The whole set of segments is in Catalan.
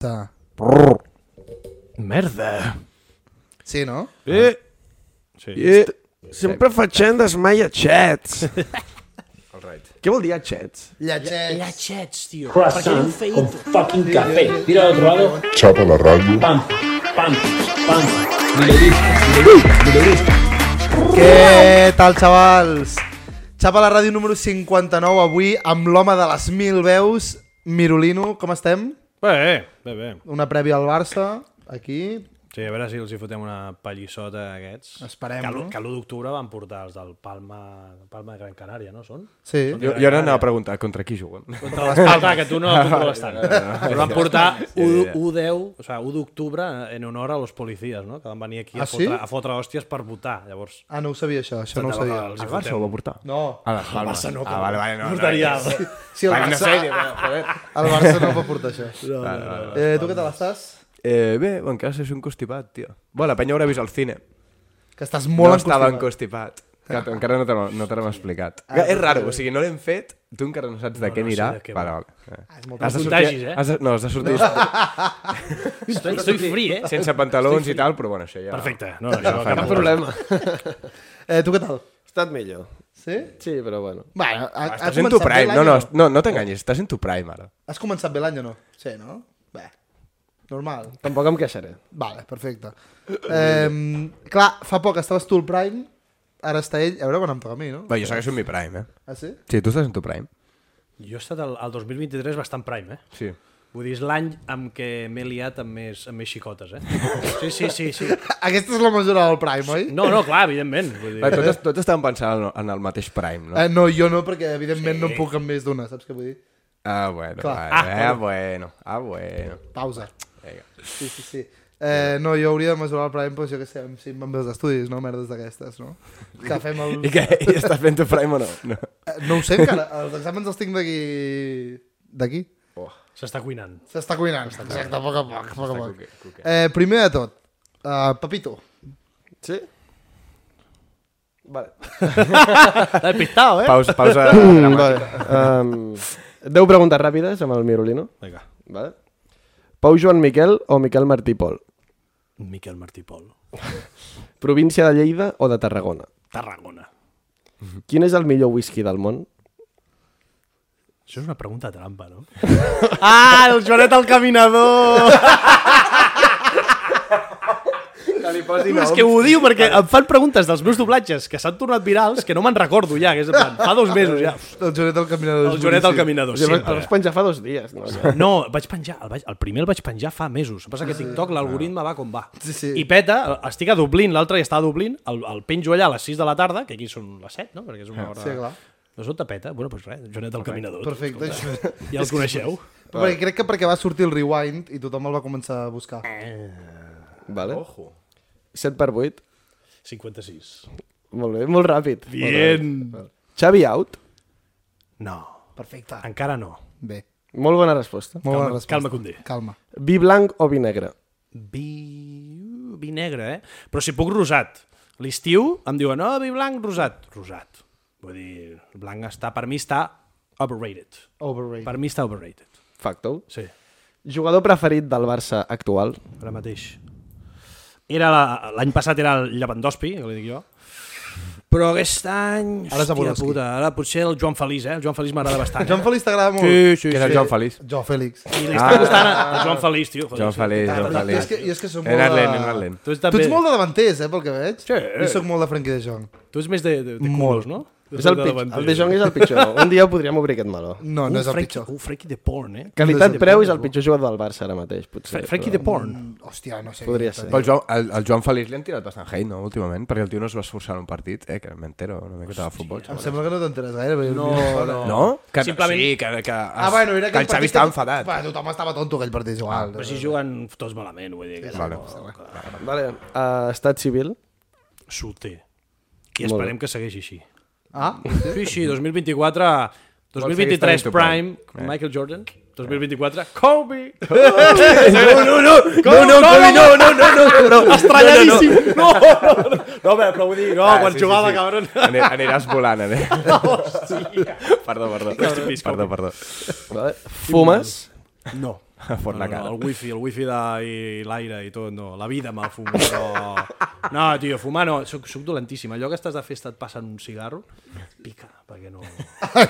Ta. Merda. Sì, no? Eh. Sì. sempre facent desmai a xets. Què vol dir a xets? Llacets. Cats, tio. croissant con fucking café. Tira al otro lado. Chapa la radio. Pam, pam, pam. Mileurista, mileurista, Què tal, xavals? Xapa la ràdio número 59 avui amb l'home de les mil veus, Mirolino. Com estem? Bé, bé, bé. Una prèvia al Barça, aquí. Sí, a veure si els hi fotem una pallissota a aquests. Esperem, Que, l'- no? que l'1 d'octubre van portar els del Palma, Palma de Gran Canària, no són? Sí. Jo, jo ara anava a preguntar contra qui juguen. Contra l'Esparta, que tu no controles tant. Però van portar 1 10, o sigui, 1 d'octubre en honor a los policies, no? Que van venir aquí Ah, a, fotre, sí? a fotre hòsties per votar, llavors. Ah, no ho sabia, això. Això no ho sabia. Els hi El Barça fotem. ho va portar? No. A les Palmes. no, ah, vale, vale, no. No no, estaria... Sí, el Vale, no sé, Barça, bueno, joder. el Barça no va portar això. Eh, tu què tal estàs? Eh, bé, en casa és un constipat, tio. Bé, la penya haurà vist al cine. Que estàs molt no estava encostipat. encostipat. Que t- encara no te l'ho- no te l'hem explicat. Que és raro, o sigui, Ah, no l'hem fet, tu encara no saps de què no sé anirà. de què vale, va. Ah, vale. Eh. és molt Has de No sortir- contagis, eh? has de- no, has de sortir Estoy, estoy free, eh? sense pantalons i tal, però bueno, això ja... Perfecte. No, no, això, cap problema. problema. Ha Eh, tu què tal? estat millor. Sí? Sí, però bueno. Bueno, ha, Estàs en tu prime. No, no, no, no t'enganyis, estàs en tu prime ara. Has començat bé l'any o no? Sí, no? Bé, normal. Tampoc em queixaré. Vale, perfecte. Eh, clar, fa poc estaves tu al Prime, ara està ell, a veure quan em toca a mi, no? Bé, jo segueixo en mi prime, eh? Ah, sí? Sí, tu estàs en tu prime? Jo he estat el, el 2023 bastant prime, eh? Sí. Vull dir, és l'any amb què m'he liat amb més, amb més xicotes, eh? Sí, sí, sí, sí. Aquesta és la mesura del Prime, oi? No, no, clar, evidentment. Vull dir, Bé, tots, tots estàvem pensant en- en el mateix prime, no? Eh, no, jo no, perquè evidentment sí. no en puc amb més d'una, saps què vull dir? Ah, bueno, clar. vale, ah, bueno, ah, bueno. Pausa. Vinga. Sí, sí, sí. Eh, no, jo hauria de mesurar el Prime, però jo què sé, amb- si em van bé els estudis, no? Merdes d'aquestes, no? Que fem el... I què? I estàs fent tu prime o no? No. Eh, No ho sé encara, els exàmens els tinc d'aquí... D'aquí? S'està cuinant. S'està cuinant, exacte, a poc a poc. a poc, a poc. Eh, primer de tot, uh, Papito, Sí? Vale. L'he pistado, eh? Pausa, pausa. vale. Um, deu preguntes ràpides amb el Mirolino. Vinga. Vale. Pau Joan Miquel o Miquel Martí Pol? Miquel Martí Pol. Província de Lleida o de Tarragona? Tarragona. Quin és el millor whisky del món? Això és una pregunta trampa, no? Ah, el Joanet el caminador! que li posi No, és que ho diu perquè em fan preguntes dels meus doblatges que s'han tornat virals que no me'n recordo ja, que és en plan, fa dos mesos ja. el Joanet el Caminador. El és Joanet al boníssim. Caminador, Sí, el vas sempre. penjar fa dos dies. No? No, el vaig penjar, el, vaig, el primer el vaig penjar fa mesos. El que passa que TikTok l'algoritme va com va. Ah. Sí, sí. I peta, estic a Dublín, l'altre ja està a Dublín, el, el penjo allà a les 6 de la tarda, que aquí són les 7, no? Perquè és una hora... Ah, Sí, clar. De sota peta, bueno, doncs res, Joanet el Caminador. Perfecte, això. Ja el coneixeu? Però perquè crec que perquè va sortir el Rewind i tothom el va començar a buscar. Vale. Ojo. 7 per 8. 56. Molt bé, molt ràpid. Molt ràpid. Bien. Xavi Out. No, Perfecte. encara no. Bé, Molt bona resposta. molt bona Calma, resposta. calma, Condé. Calma. Vi blanc o vi negre? vi, vi negre, eh? Però si puc rosat. L'estiu em diuen, no, vi blanc, rosat. Rosat. Vull dir, el blanc està, per mi està overrated. Overrated. Per mi està overrated. Facto. Sí, Jugador preferit del Barça actual? ara mateix. Era la- L'any passat era el Lewandowski, que li dic jo. Però aquest any... Ara és hòstia Podolski. puta, ara potser el Joan Feliç, eh? El Joan Feliç m'agrada bastant. Joan Félix t'agrada molt? Sí, sí, Que era sí. el Joan Feliç. Jo, Félix. I li està costant a a Joan Feliç, tio. Joder, Ah. Joan sí. Feliç, Ah, Joan Però jo és Feliç. que, jo és que som molt Era lent, de... era lent. Tu ets, Tu també, ets molt de davanters, eh, pel que veig? Sí. Jo soc molt de Frenkie de Jong. tu ets més de, de, de culos, no? És el, pitjor, el De Jong és el pitjor. Un dia podríem obrir aquest meló. No, no és el pitjor. Un freaky de porn, eh? Qualitat-preu és el pitjor jugador del Barça ara mateix, potser. Fre freaky però- de porn. Mm, Hòstia, no sé. Podria què ser. t'ha dit. Però el Joan, el, el Joan Feliç li han tirat bastant hate, no, últimament? Perquè el tio no es va esforçar en un partit, eh? Que m'entero una miqueta de futbol. Em sembla que no t'enteres gaire. perquè- no. No? Que, Simplement- Sí, que, que, Ah, bueno, era que aquell el Xavi partit estava enfadat. Va, tothom estava tonto aquell partit, és igual. Però si juguen tots malament, vull dir. Que... Vale. Vale, uh, estat civil. Solter. I esperem que segueixi així. Ah, Sí, sí, 2024... Vols seguir estant 2023 en tu prime. Prime, Eh. Michael Jordan. 2024, Kobe! No, no, no! No, no, no, no, no, no, no, no, no. Estrelladíssim! No, no, no, no, bé, però vull dir, no, Ah, quan sí, sí, jugava, sí. cabron. Ani- Aniràs volant, eh? Perdó, perdó. Perdó, perdó. Vale. Fumes. No. Fot la cara. No, el wifi, el wifi de, i l'aire i tot, no. La vida me'l fumo, però... No, tio, fumar no, soc, soc dolentíssim. Allò que estàs de festa et passen un cigarro, pica, perquè no...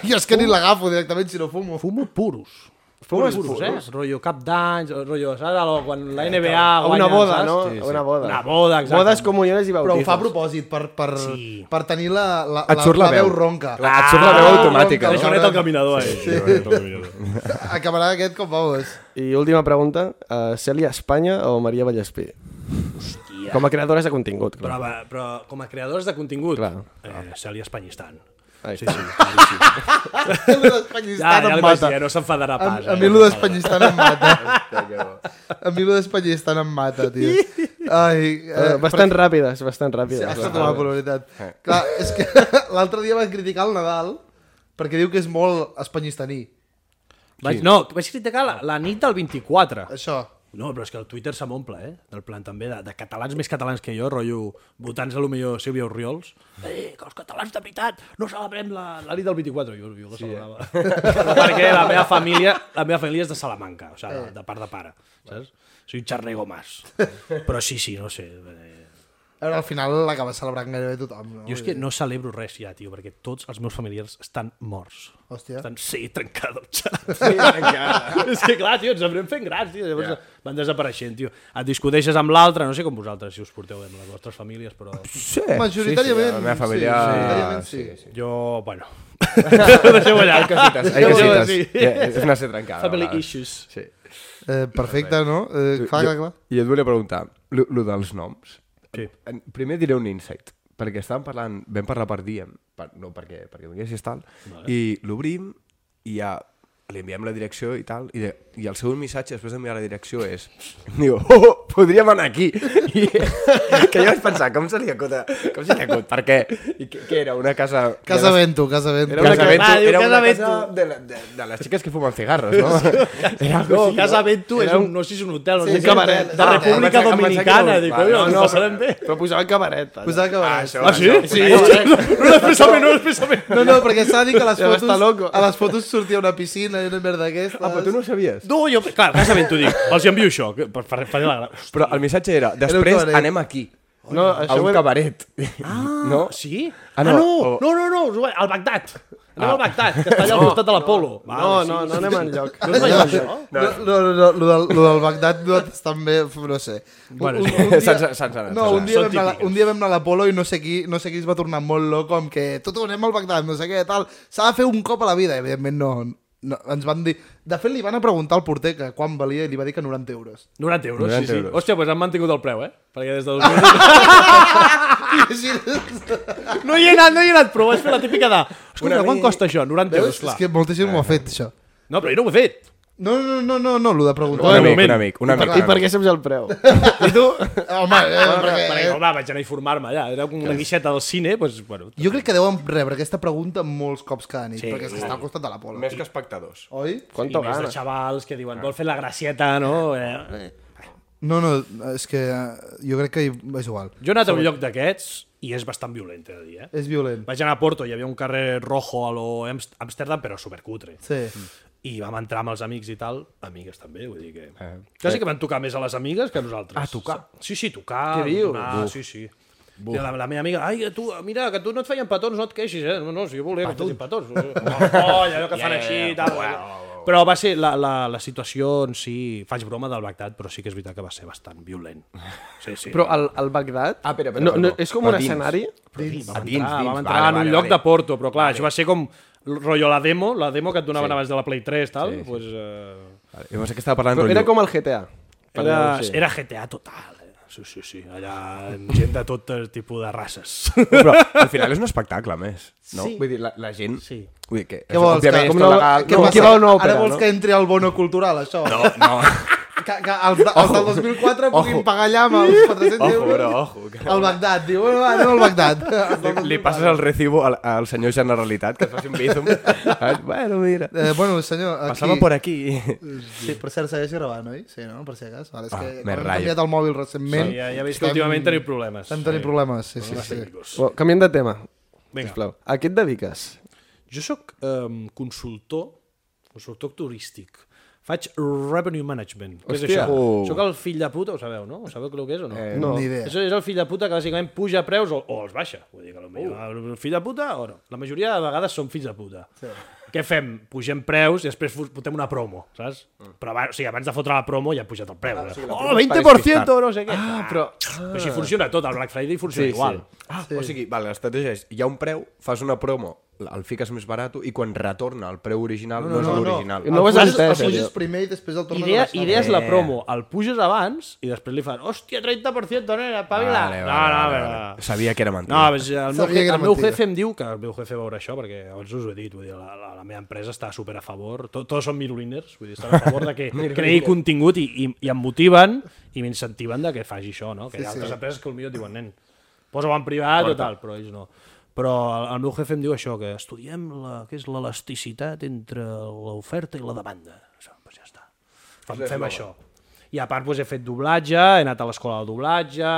jo és que ni l'agafo directament si no fumo. Fumo puros. Fumes puros, puros, eh? Rollo cap d'anys, rollo, saps? Allò, quan la NBA A una guanya, boda, saps? no? A una boda. Una boda, exacte. Bodes, comuniones i Però ho bautizos. fa a propòsit, per, per, Sí. per tenir la, la, Et la, surt la la veu. veu. ronca. Clar, Ah, et surt la veu Ah, automàtica. ronca, Deixa no? net el caminador, eh? Sí. Acabarà aquest com vamos. I última pregunta, uh, Cèlia Espanya o Maria Vallespí? Hòstia. Com a creadores de contingut, Però, clar. va, però com a creadors de contingut, Clar. eh, Cèlia Espanyistan. Ai. Sí, sí, claríssim. Ja, L'espanyistan ja em el vaig mata. dir, eh, no s'enfadarà A, pas. a mi lo d'espanyistan em mata. A mi lo d'espanyistan em mata, tio. Ai, Uh, bastant ràpides, bastant Eh, Sí, ràpides. ha estat Clar. una probabilitat. Clar, és que l'altre dia van criticar el Nadal perquè diu que és molt espanyistaní. Vaig, no, vaig criticar la, la nit del 24. Això. No, però és que el Twitter se m'omple, eh? Del plan també de, de catalans més catalans que jo, rotllo votants a lo millor Sílvia Oriols. Eh, que els catalans de veritat no celebrem la, la nit del 24. Jo, jo la celebrava. eh. Perquè la meva, família, la meva família és de Salamanca, o sigui, de, de part de pare, saps? Soy un charrego más. Però sí, sí, no sé. eh, A veure, al final l'acaba celebrant gairebé tothom. No? Jo és que no celebro res ja, tio, perquè tots els meus familiars estan morts. Hòstia. Estan, sí, trencada el xat. Sí, és que clar, tio, ens anem fent grans, tio. Llavors van desapareixent, tio. Et discuteixes amb l'altre, no sé com vosaltres, si us porteu bé amb les vostres famílies, però... Sí, Majoritàriament, sí, sí, la meva sí, família... majoritàriament sí. Jo, bueno... Deixeu allà. Hi casites, hi Deixeu-ho casites. així. Ja, és una ser trencada. Family a vegades. issues. Sí. Eh, perfecte, no? Eh, clar, clar, clar. I et volia preguntar, lo, lo dels noms. Sí. En- Primer diré un insight, perquè estàvem parlant, vam parlar per diem, per, no perquè, perquè vinguessis tal, vale. i l'obrim i ja li enviem la direcció i tal, i, de, i el seu missatge després d'enviar la direcció és diu, oh, oh, podríem anar aquí I, que jo vaig pensar, com se li acut com se li acut, per què? I què, què era, una casa Casa Vento, Casa Vento. era una Casa casa, Vento, era una diu, Casa casa, Vento. de, la, de, de les xiques que fumen cigarros, no? Era No, algo així, Casa Ventu és un, no sé si és un hotel, sí, Sí, un sí, cabaret hotel. de Ah, República em pensava- em pensava que Dominicana. era un Dic, bar. oi, No, ens no, passarem bé. Però posava cabaret. allà. Posar que va. Ah, això, Ah, sí? això, Sí. això, No, no és pensament, no és pensament. No, no, perquè s'ha de dir que a les Ja està fotos, loco. a les fotos sortia una piscina i una merda d'aquestes. Ah, però tu no ho sabies? No, jo, clar, Casa Ventu dic, els hi envio això, que- per, per, faré la gràcia. Però el missatge Era era, un després cabaret. anem aquí. No, A això ho un he- cabaret. No? Sí? Ah, Ah, no, no, ah, no. o- O... no, no, no, us ho- al Bagdad. Anem ah. al Bagdad, que està allà al costat de l'Apolo. No, No, no, no anem enlloc. No és allò, això? No, no, no, no, lo del, lo del Bagdad no, estan bé, no sé. Bueno, Se'ns- se'ns ha no, anat, se'ns ha un dia, vam anar, anat. Són típiques. un dia vam anar a l'Apolo i no sé, qui, no sé qui es va tornar molt loco amb que tot anem al Bagdad, no sé què, tal. S'ha de fer un cop a la vida, i evidentment no, no. Ens van dir... De fet, li van a preguntar al porter que quan valia i li va dir que 90 euros. 90 euros, 90 90 sí, sí. euros. Euros. Hòstia, doncs han mantingut el preu, eh? Perquè des de 2000... Ah! no hi he anat, no hi he anat, però vaig fer la típica de... Escolta, quant costa això? 90 Veus? euros, És clar. que moltíssim Eh. ho ha fet, això. No, però jo no ho he fet. No, no, no, no, no, lo de preguntar. Un Bueno, amic, un moment. amic, un I per, amic. I per què saps el preu? I tu? Home, eh, perquè... Perquè, home, vaig anar a informar-me allà. Era com una guixeta del cine, doncs, bueno... Jo crec que deuen rebre aquesta pregunta molts cops cada nit, perquè és que està al costat de l'Apolo. que espectadors. Oi? I Quanto més de gana? xavals que diuen, vol fer la gracieta, no? Eh, No, no, és que eh, jo crec que hi- és igual. Jo he anat a un lloc d'aquests i és bastant violent, he de dir, eh? És violent. Vaig anar a Porto, hi havia un carrer rojo a lo Amst- Amsterdam, però supercutre. Sí. I vam entrar amb els amics i tal, amigues també, vull dir que... Eh. Quasi que van tocar més a les amigues que a nosaltres. Ah, tocar? Sí, sí, tocar. Què dius? Ah, sí, sí. I la, la meva amiga, ai, tu, mira, que tu no et feien petons, no et queixis, eh? No, no, si jo volia que fessin petons. Oh, oh, allò que fan així i tal. Però va ser la, la, la situació en si... Faig broma del Bagdad, però sí que és veritat que va ser bastant violent. Sí, sí. Però al, al Bagdad... Ah, espera, espera, no, no, perdó. és com Però un dins. escenari... Dins. dins, vam entrar, dins, vam vale, entrar en un vale, lloc vale. de Porto, però clar, això va ser com el rotllo la demo, la demo que et donaven abans de la Play 3, tal, sí, pues, eh, Vale, llavors que estava parlant Però rotllo. era com el GTA. per era, dir-ho així. era GTA total. Eh? Sí, sí, sí, allà amb gent de tot el tipus de races. Però al final és un espectacle, més. No? Sí. Vull dir, la, la gent... Sí. Vull dir que... Què vols? Que, òbviament, és com tot no, legal. què com passa? qui va a una òpera, Ara vols no? que entri al bono cultural, això? No. No, Que, que els, de, els del 2004 puguin Ojo. pagar allà amb els 400 ojo, euros. però, ojo. Que... Al Bagdad, diu, bueno, va, anem al Bagdad. Els Li, del 2004. li passes el recibo al, al senyor Generalitat, que es faci un bizum. Saps? bueno, mira. Eh, bueno, senyor, aquí... Passava per aquí. Sí, per cert, segueix gravant, oi? Sí, no? Per si de cas. Vale, és Ah, que me hem rayo. canviat el mòbil recentment. ja, ja veus que últimament teniu problemes. Vam tenir problemes, sí, sí, sí. problemes. Bueno, canviem de tema, Vinga, sisplau. A què et dediques? jo sóc eh, consultor, consultor ehm, turístic, Faig revenue management. Què és Hòstia. això? Oh. Sóc el fill de puta, ho sabeu, no? Ho sabeu el que és o no? Eh, No. Ni idea. Això és el fill de puta que bàsicament puja preus o, o els baixa. Vull dir que potser el fill de puta o no. La majoria de vegades són fills de puta. Sí. Què fem? Pugem preus i després fot- fotem una promo, saps? Però abans, o sigui, abans de fotre la promo ja ha pujat el preu. Ah, sí, oh, 20% no sé què. Ah, però... Ah. Així funciona tot, el Black Friday funciona sí, igual. Sí. Ah, sí. O sigui, vale, l'estratègia és, hi ha un preu, fas una promo, el fiques més barat i quan retorna el preu original no, no, no és l'original. No ho has puges- entès, el puges allò. primer i després el tornes Idea, a baixar. Eh. idea és la promo, el puges abans i després li fan, hòstia, 30%, nena, pavila. Vale, vale, no, no, vale, no, vale. Sabia que era mentida. No, és, el, meu, Sabia que je- era el meu mentida. jefe em diu que el meu jefe veurà això, perquè abans us ho he dit, vull dir, la, la, la meva empresa està super a favor, to, tots són miroliners, vull dir, estan a favor de que creï contingut i, i, i em motiven i m'incentiven de que faci això, no? Que sí, hi ha altres sí. empreses que potser et diuen, nen, posa-ho en privat Corta. o tal, però ells no. Però el, el meu jefe em diu això, que estudiem la, que és l'elasticitat entre l'oferta i la demanda. Això, doncs ja està. Fem, fem això. I a part doncs, he fet doblatge, he anat a l'escola de doblatge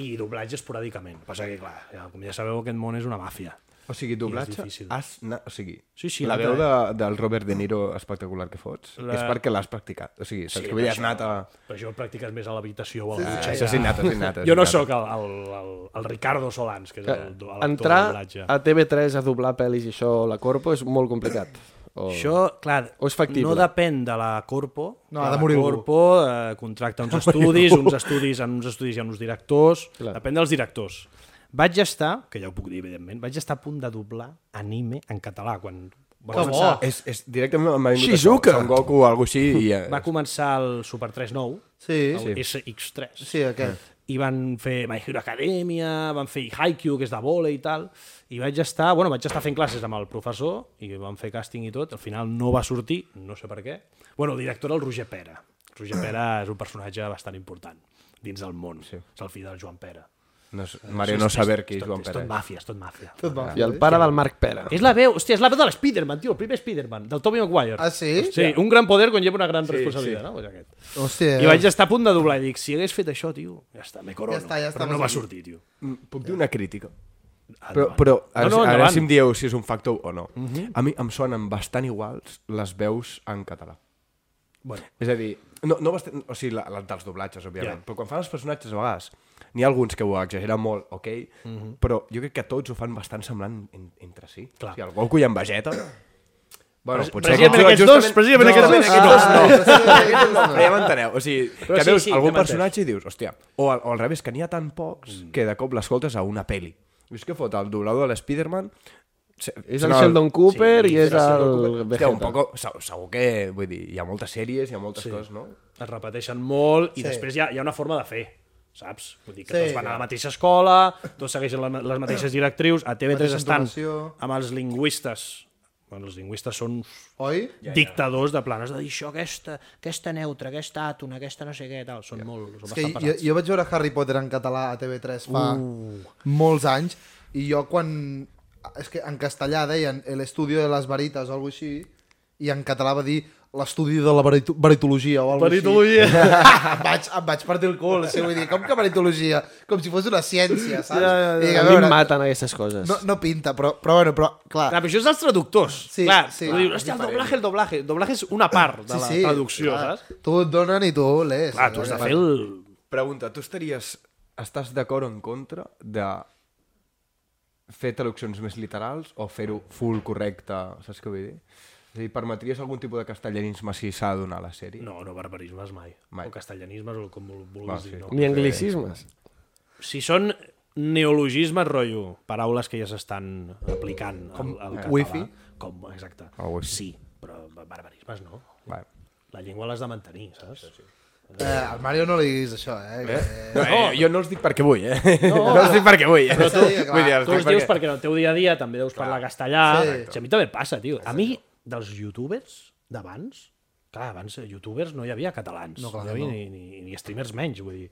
i doblatge esporàdicament. Passa que, clar, ja, com ja sabeu, aquest món és una màfia. O sigui, doblatge, difícil. has... Na... O sigui, Sí, sí, la la veu veu de, del Robert De Niro espectacular que fots la... és perquè l'has practicat. O sigui, saps sí, que vull dir, has anat a... Però això ho practiques més a l'habitació o a la Ah, butxaca. Això és innat, és innat. és Jo no innat. sóc el, el, el, el Ricardo Solans, que és el, do- l'actor de Eh, Entrar doblatge. a TV3 a doblar pel·lis i això, la Corpo, és molt complicat. O... Això, clar, O és factible? no depèn de la Corpo. No, ha de la morir algú. Corpo eh, contracta uns estudis, uns estudis, en uns estudis hi ha uns directors, clar. depèn dels directors. Vaig estar, que ja ho puc dir, evidentment, vaig estar a punt de doblar anime en català, quan va Que començar, bo. És, és directament m'ha vingut Shizuka! això, Son Goku o alguna així. I, eh, va començar el Super 3 nou, Sí, el SX3, sí, Eh, aquest. i van fer My Hero Academia, van fer Haikyuu, que és de vole i tal, i vaig estar, bueno, vaig estar fent classes amb el professor, i vam fer càsting i tot, al final no va sortir, no sé per què. Bueno, el director era el Roger Pera. Roger Pera és un personatge bastant important dins del món, sí. és el fill del Joan Pera. No, és- Mario no saber qui és Joan eh. És tot Pérez. màfia, és tot màfia. Tot va. I el pare del Marc Pera. És la veu, hòstia, és la veu de l'Spiderman, tio, el primer Spiderman, del Tobey Maguire. Ah, sí? Sí, un gran poder conlleva una gran sí, responsabilitat, sí. no? Pues aquest. Hòstia. eh, I vaig estar a punt de doblar i dic, si hagués fet això, tio, ja està, me corono. Ja està, ja està, Però no vas va aquí. sortir, tio. Mm, Puc dir una crítica? Però, Ah, Endavant. però ara, no, no, no, ara endavant. si em dieu si és un factor o no. Mm -hmm. A mi em sonen bastant iguals les veus en català. Bueno. És a dir, no, no bastant, o sigui, la, la, dels doblatges, òbviament, Ja. yeah. però quan fan els personatges a vegades, n'hi ha alguns que ho exageren molt, ok, mm -hmm. però jo crec que tots ho fan bastant semblant en, entre si. Mhm. Clar. O sigui, el Goku i en Vegeta... bueno, potser aquests precisament aquests justament- dos, precisament no, aquests dos. aquests dos no. Aquests No, però ja m'enteneu. O sigui, Però que sí, veus sí, algun t'hem entès. Mm. personatge i dius, hòstia, o al, o al revés, que n'hi ha tan pocs que de cop l'escoltes a una peli. Dius que fot el doblador de l'Spiderman... se- És el sembla- Sheldon Cooper i és Sheldon el Cooper. Hòstia, un Vegeta. poc, segur, segur que, vull dir, hi ha moltes sèries, hi ha moltes sí. coses, no? es repeteixen molt i sí. després hi ha, hi ha una forma de fer saps? Vull dir que Sí, sí, tots van ja. a la mateixa escola, tots segueixen la, les mateixes directrius, a TV3 Mateixa estan entonació. amb els lingüistes, bueno, els lingüistes són uns Oi? ja, dictadors de planes de dir això, aquesta, aquesta neutra, aquesta àtona, aquesta no sé què, tal, són molt, són És que bastant jo, pesats. jo vaig veure Harry Potter en català a TV3 fa Uh. molts anys i jo quan... És que en castellà deien el estudio de les veritas o alguna així i en català va dir l'estudi de la verito veritologia o alguna Veritologia. així. em, vaig, em vaig partir el cul. O sigui, vull dir, com que veritologia? Com si fos una ciència, saps? Ja, ja, ja. A mi em maten aquestes coses. no, no pinta, però, però bueno, però clar, Clar, però això és dels traductors. Sí, clar, sí. tu dius, hòstia, el doblatge, el doblatge. El doblatge és una part de Sí, la sí, traducció, clar. saps? tu et donen i tu l'és. Clar, tu has de fer el... Pregunta, tu estaries... Estàs d'acord o en contra de fer traduccions més literals o fer-ho full correcte, saps què vull dir? És a dir, permetries algun tipus de castellanisme si s'ha de donar a la sèrie? No, no barbarismes mai. Mai. O castellanismes, o com vulguis Va, sí. dir. No. Ni anglicismes. si són neologismes, rotllo, paraules que ja s'estan aplicant com al, al català, wifi? Com, exacte. El Ah, wifi. Sí, però barbarismes no. Vale. La llengua l'has de mantenir, saps? Sí, sí. Eh, al Mario no li diguis això, eh? eh? eh No, eh, jo no els dic perquè vull, eh? No, no els dic perquè vull, eh? tu- vull dir, els dic Tu els dius perquè en el teu dia a dia també deus parlar castellà. Sí. Sí. A mi també em passa, tio. A mi, dels youtubers d'abans, clar, abans de youtubers no hi havia catalans, no, clar, no hi havia no. ni, ni, ni streamers menys, vull dir.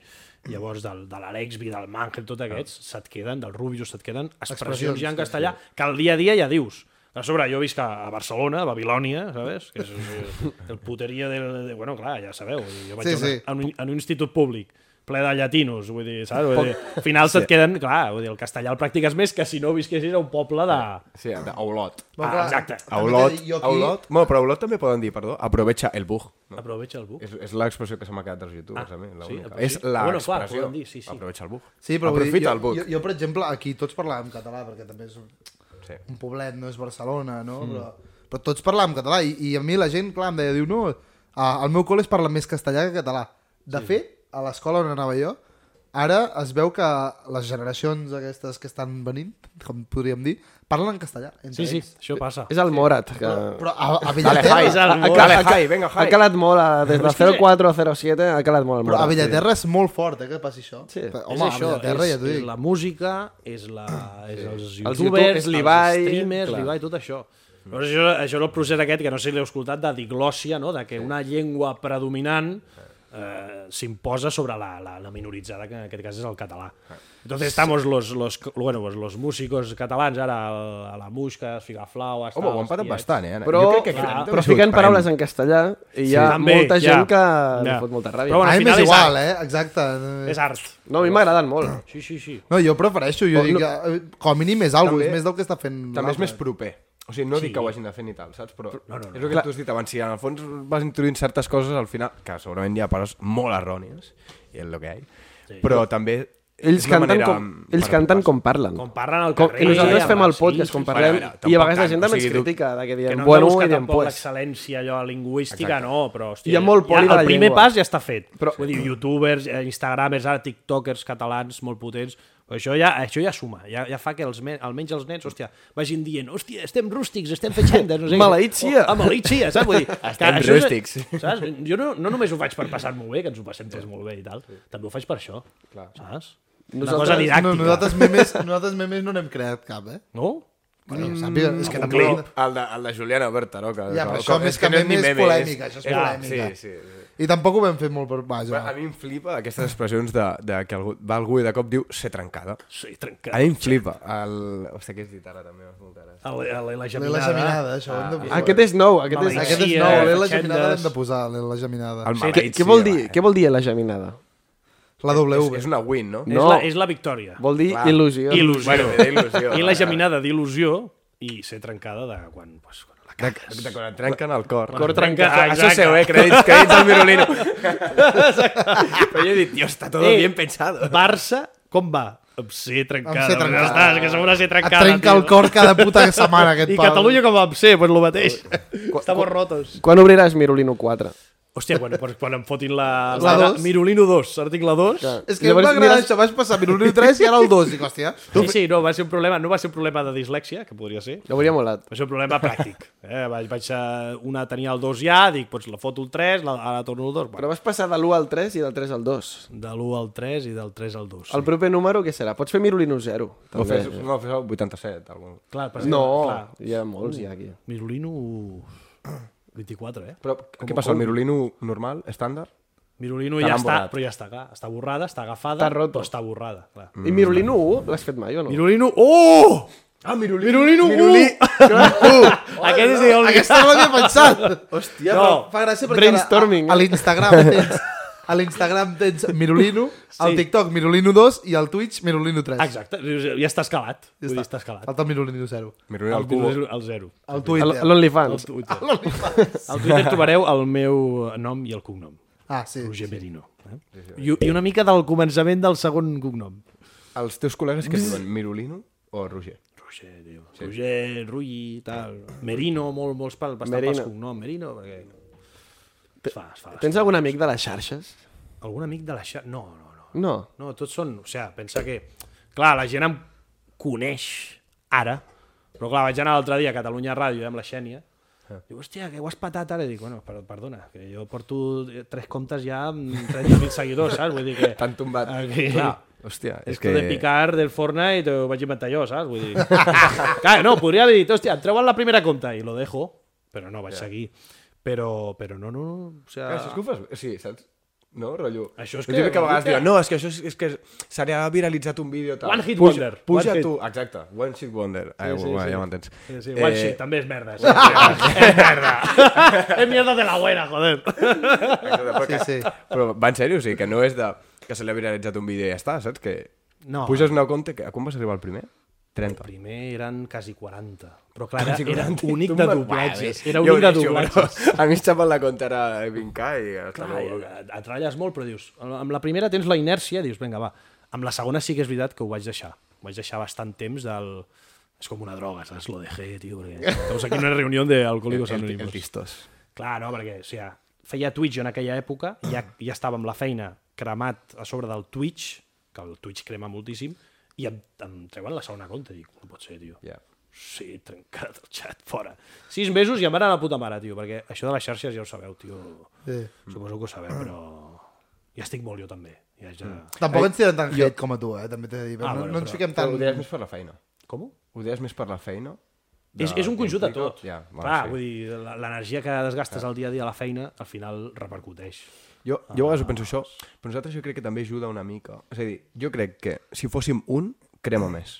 Llavors, del, de l'Alex Vi, del Mangel, tots aquests, se't queden, del Rubius, se't queden expressions, Expressions, ja en sí, castellà que al dia a dia ja dius. A sobre, jo visc a a Barcelona, a Babilònia, ¿sabes? Que és eh, el puteria del... De, bueno, clar, ja sabeu. Jo vaig Sí, a una- sí. en un, en un institut públic. ple de llatinos, vull dir, saps? Vull dir, al final se't queden, clar, vull dir, el castellà el practiques més que si no visquessis a un poble de... Sí, a Olot. Ah, exacte. A també Olot, t'he dit, jo a aquí- Olot. Bueno, però a Olot també poden dir, perdó, aprovecha el bug. No? Aprovecha el buc. És, és l'expressió que se m'ha quedat dels youtubers, ah, a mi. la sí, única. però sí. És la Bueno, clar, expressió. poden dir, sí, sí. Aprovecha el bug. Sí, però vull dir, Aprofita jo, el bug. Jo, jo, per exemple, aquí tots parlàvem català, perquè també és un, Sí. un poblet, no és Barcelona, no? Mm. Però, però tots parlàvem català i, i a mi la gent, clar, em deia, diu, no, a, al meu col·le es parla més castellà que català. De sí. fet, a l'escola on anava jo, ara es veu que les generacions aquestes que estan venint, com podríem dir, parlen en castellà. Entre Sí, sí, Ells. això passa. És el Morat, que... Però a, a Dale, eh? Bellaterra... hi. És el Dale, Morat. hi, ca- ah, venga, hi. ha calat molt, a- des de 04 a 07 ha calat molt el Però a Morat. Bellaterra és molt fort, eh, que passi això. Sí. Home, és a això, Bellaterra és, ja t'ho és dic. la música, és, la, és els youtubers, YouTube, és els l'Ibai, streamers, clar. l'Ibai, tot això. Llavors, això, això és el procés aquest, que no sé si l'heu escoltat, de diglòssia, no? de que una llengua predominant eh, s'imposa sobre la, la, la minoritzada, que en aquest cas és el català. Entonces estamos los, los, bueno, pues los músicos catalans, ara a la Musca, a Figaflau... a Home, ho Stals, han patat tiets. bastant, eh? ara. Però, jo crec que clar, Fran també però és fiquen sorprenent. paraules en castellà i hi ha També, molta gent ja. que li Ja. fot molta ràbia. Però bueno, A al mi m'és final és igual, art. eh? Exacte. És art. No, a mi m'agraden molt. Sí, sí, sí. No, jo prefereixo, jo Oh, dic, no. eh, com a mínim és alguna També- és més del que està fent També és l'altre. més proper. O sigui, no dic que ho hagin de fer ni tal, saps? Però no, no, no. és el que tu has dit abans. Si en el fons vas introduint certes coses, al final, que segurament hi ha paraules molt errònies, i és el que hi ha, sí. però també Ells és la canten, manera com, amb- ells per canten arribar-se. com parlen. Com parlen al Com, carrer... I nosaltres fem el sí, podcast, com sí, sí. parlem, Bueno, a veure, i a vegades la tampoc tant, gent o també ens sigui, tu- critica, de que que diem no bueno hem de buscar i diem tampoc pues. l'excel·lència allò lingüística, Exacte. no, però hòstia, Hi ha molt poli de la el primer llengua. pas ja està fet. Però- Però... Vull dir, youtubers, eh, instagramers, ara tiktokers catalans molt potents, però això ja, això ja suma, ja, ja fa que els, men- almenys els nens, hòstia, vagin dient, hòstia, estem rústics, estem fent xandes, no sé què. Maleït sia. Oh, ah, maleït sia, saps? Vull dir, que Estem això és- rústics. Saps? Jo no, no només ho faig per passar-m'ho bé, que ens ho passem tots molt bé i tal, també ho faig per això, Clar. saps? Una Nosaltres- cosa didàctica. No, nosaltres memes, nosaltres memes no n'hem creat cap, eh? No? Bueno, sàpiga, és que també... Mm, Clip, el de, el de Juliana Bertaroca. Ja, però Com- això com- més que no meme ni és meme, Ah, polèmica, això és Ja, polèmica. Sí, sí. sí. I tampoc ho vam fer molt per... Però a Vaja, mi em flipa aquestes expressions de, de que algú, va algú i de cop diu ser trencada. Sí, A trencat. mi em flipa. El... Hòstia, què has dit ara també? Molta gràcia. La, la, la, la l'Ela Geminada, això ho hem de posar. ah, Aquest és nou, aquest és... Maleït Aquest és Sí, nou, eh, l'Ela fatxendes. Geminada l'hem de posar, l'Ela Geminada. El Què- maleït, Què vol sí, dir? eh? va. Què vol dir la geminada? La És, W. és una win, no? No. No. És, la, és la victòria. Vol dir Clar. il·lusió. Il·lusió. Bueno, de il·lusió, I clar. la geminada d'il·lusió i ser trencada de quan... Pues, quan la De, de quan et trenquen el cor. Cor trencat, Ah, Això exacte. és seu, eh? Crèdits, crèdits al Mirolino. Però jo he dit, tio, està tot Eh. bien pensado. Barça, com va? Amb ser trencada. Amb ser trencada. Ja estàs, que segona ser Et trencada. trenca tio. el cor cada puta setmana, aquest I pal. Catalunya com va amb ser? Pues lo mateix. Estamos rotos. Quan obriràs Mirolino 4? Hòstia, quan, quan, quan em fotin la... La dos. Mirolino 2, article 2. Clar. És que Llavors m'agrada mires- això, vaig passar minut 3 i ara el 2. Dic, hòstia, Sí, sí, no, va ser un problema, no va ser un problema de dislèxia, que podria ser, Jo hauria molat. Va ser un problema pràctic. Eh? Vaig, vaig, eh, una tenia el 2 ja, dic, doncs la foto el 3, la, ara torno el 2. Però Bueno, vas passar de l'1 al 3 i del 3 al 2. de l'1 al 3 i del 3 al 2. El proper número què serà? Pots fer Mirolino 0. No, També. fes, no, fes el 87. Algun. Clar, per No, clar, hi ha molts ja aquí. Mirolino 24, eh? Però què passa? El Mirolino normal, estàndard? Mirolino Te ja l'han està, borrat. però ja està, clar, està borrada, està agafada, Està roto. Mm. però està borrada, clar. I Mirolino 1 l'has fet mai o no? Mirolino... Oh! Ah, Mirolino. Mirolino 1! Uh. Aquest és el... aquesta no l'havia pensat. Hòstia, no. Fa gràcia perquè Brainstorming, ara, a, a eh? l'Instagram tens a l'Instagram tens Mirolino, al TikTok Mirolino 2 i al Twitch Mirolino 3. Exacte, ja està escalat. Ja està, està escalat. Falta el Mirolino 0. Mirolino El al cubo. Mirolino al 0. Al L- Twitter. L'OnlyFans. Twitter. Al Twitter trobareu el meu nom i el cognom. Ah, sí. Roger Merino. Eh? I, I una mica del començament del segon cognom. Els teus col·legues que diuen Mirolino o Roger? Roger, diu. Roger, Rulli, tal. Merino, molt, molts pel, bastant Merino. Merino. pels cognom. Merino, perquè... Es fa, es fa. Tens algun amic de les xarxes? Algun amic de la xarxa? No, no, no. No. No, tots són... O sigui, pensa que... Clar, la gent em coneix ara, però clar, vaig anar l'altre dia a Catalunya Ràdio amb la Xènia, Ah. Diu, hòstia, que ho has patat ara? I dic, bueno, per, perdona, que jo porto tres comptes ja amb 30.000 seguidors, saps? Vull dir que... T'han tombat. Aquí. Clar. Hòstia, és Esto que... de picar del Fortnite ho vaig inventar jo, saps? Vull dir... Clar, no, podria haver dit, hòstia, em treuen la primera compta i lo dejo, però no, vaig seguir. Però, però no, no, no, o sigui... Clar, si és que ho fas... Sí, saps? No, rotllo. Això és Jo que- crec que a vegades diuen, no, és que això és, és que se li ha viralitzat un vídeo tal. One hit Puja- wonder. Puja One hit. tu. Exacte, one hit wonder. Eh, sí, sí, ja m'entens. Eh, Sí, sí, one shit, també és merda. Sí, sí, és merda. és mierda de la buena, joder. Exacte, però, Sí, sí. Però va en sèrio, o sigui, que no és de... que se li ha viralitzat un vídeo i ja està, saps? Que No. puges anar a compte que a quan vas arribar el primer? 30. Primer eren quasi 40. Però clar, era, era 40. únic Tu de me- doblatges. Uah, Era ja ho únic de deixo, doblatges. però A mi em xapen la conta era 20K i... hasta Clar, luego. et- et ratlles molt, però dius... Amb la primera tens la inèrcia, dius, vinga, va. Amb la segona sí que és veritat que ho vaig deixar. Ho vaig deixar bastant temps del... És com una droga, saps? Lo dejé, tio, perquè... Estamos aquí en una reunió de alcohólicos El, el, el anónimos. tistos. Clar, no, perquè o sigui, feia Twitch jo en aquella època, ja, ja estava amb la feina cremat a sobre del Twitch, que el Twitch crema moltíssim, i em, em treuen la segona compte. Dic, no pot ser, tio. Ja. Sí, trencat el xat, fora. Sis mesos i em van anar a la puta mare, tio, perquè això de les xarxes ja ho sabeu, tio. Sí. Suposo que ho sabeu, però... Ja estic molt jo també. Ja, ja... Mm. Tampoc ens tiren tan hate com a tu, eh? També t'he de dir. Ah, no, bueno, no ens però- fiquem Però tan... ho deies més per la feina. Com? Ho deies més per la feina? De, és, és un conjunt de tot. Ja, bueno, Clar, sí. vull dir, la- l'energia que desgastes al dia a dia a la feina, al final repercuteix. Jo, jo a vegades ho Ah. penso això, però nosaltres jo crec que també ajuda una mica. És a dir, jo crec que si fóssim un, crema més.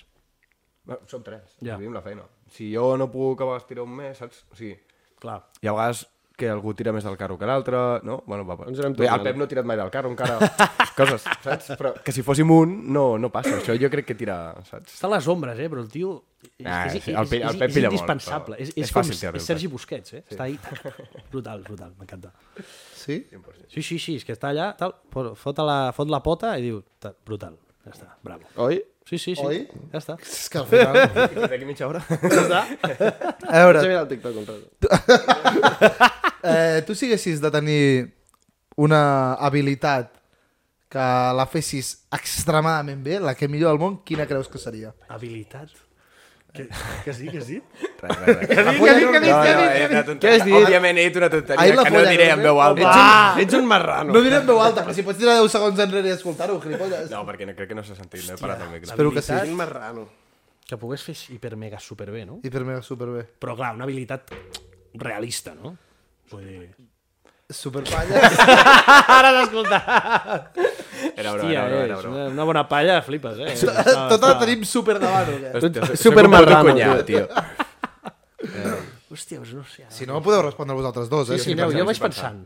Bueno, som tres, Ja. ja. dividim la feina. Si jo no puc a vegades tirar un mes, saps? O sigui, Clar. hi ha vegades que algú tira més del carro que l'altre, no? Bueno, va, va. Ens anem Bé, el tornant. Pep no ha tirat mai del carro encara, coses, saps? Però que si fóssim un, no, no passa. Això jo crec que tira, saps? Està a les ombres, eh? Però el tio... És, Ah, és, és, sí, el Pe- és, el és, Pep és pilla molt, indispensable. però és, és, és com fàcil S- tirar-li és el Sergi Busquets, eh? Sí. Està ahí... Brutal, brutal, m'encanta. Sí? Sí, sí, sí, és que està allà, tal, po- fot la, fot la pota i diu... "Ta- Brutal, ja està, bravo. Oi? Sí, sí, sí, Oi? ja està. És que al final... I D'aquí mitja hora? A veure, Vaig a mirar el TikTok un rato. eh, tu si haguessis de tenir una habilitat que la fessis extremadament bé, la que millor del món, quina creus que seria? Habilitat. Que, que sí, que sí? Res, res, res. La polla no- No, no, he anat un- Què has dit? Òbviament he dit una Ai, tonteria, la que no polla diré en grande. veu alta. Ets un, ets un marrano. No diré en veu alta, però si pots tirar 10 segons enrere i escoltar-ho, gilipolles. No, perquè no, crec que no s'ha sentit, no he parat el micro. Espero que sí. Ets un marrano. Que pogués fer hiper mega super bé, no? I per mi va superbé. Però clar, una habilitat realista, no? Vull dir... Superpalla. Ara l'has escoltat! Era broma, era Tia, broma, eh, era és broma. una, una bona palla, flipes, eh? Tot tota la tenim super davant, o què? Hòstia, soc- soc super un puto marrano, cunyat, tio. Hòstia, doncs no sé. ara. Si no, podeu respondre vosaltres dos, eh? Sí, Si no, no, jo vaig pensant.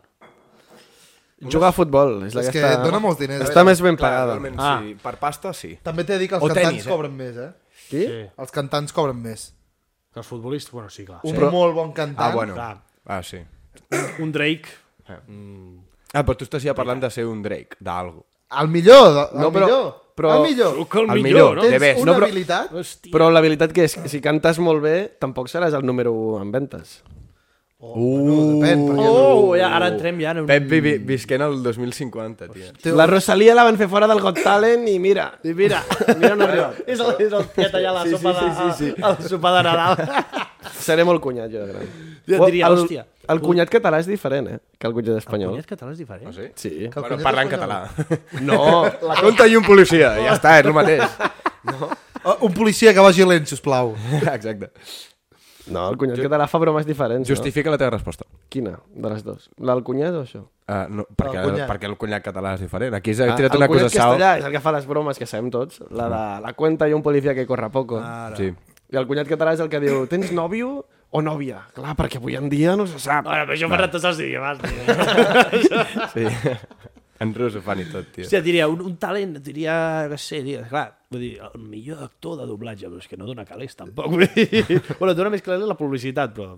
Jugar a futbol. És, la és que, que està... dona molts diners. Està més ben Clar, pagada. realment, Ah. sí. Per pasta, sí. També t'he de dir que els O cantants tenis, eh? cobren més, eh? Sí? Sí. Els cantants cobren més. Que els futbolistes, bueno, sí, clar. Un Però- molt bon cantant. Ah, bueno. clar. Ah, sí. Un Drake. Ah, però tu estàs ja parlant de ser un Drake, d'algo. El millor, de- el No, però- millor. però- El millor. Sóc el, El millor, millor, no? de Tens best. una No, però- habilitat? Hòstia. Però la veritat que és que si cantes molt bé, tampoc seràs el número 1 en ventes. Bueno, depèn, perquè Oh, ja, ara entrem ja en un... Uh. Pep vi, vi, visquent el 2050, tio. Teu- La Rosalia la van fer fora del Got Talent i mira, i mira, mira on ha arribat. És el, és el tiet allà a la sí, sopa sí, sí, sí, sí. de, al sopar de Nadal. Seré molt cunyat, jo, de gran. Jo Well, diria, el, hòstia. El cunyat català és diferent, eh, que el cunyat espanyol. Cunyat català és diferent. Sí? Sí. Que el Bueno, cunyat parla en espanyol. català. No, La conta i un policia, ja està, és el mateix. Ah, Un policia que vagi lent, sisplau. Exacte. no el cunyat català fa bromes diferents, Justifica la teva resposta. no? Quina de les dues? La del cunyat o això? Uh, no, perquè, El el cunyat. perquè el cunyat català és diferent. Aquí s'ha Ah, tirat el una cunyat cosa sau. castellà és el que fa les bromes que sabem tots, la de la cuenta i un policia que corre poco. Sí. I el cunyat català és el que diu, tens nòvio o nòvia? Clar, perquè avui en dia no se sap. Bueno, però això farà tots els idiomes, tio. sí. en rus ho fan i tot, tio. Hòstia, diria, un, un talent, diria, no sé, diria, clar, vull dir, el millor actor de doblatge, però és que no dona calés, tampoc. Vull dir, bueno, dona més calés la publicitat, però...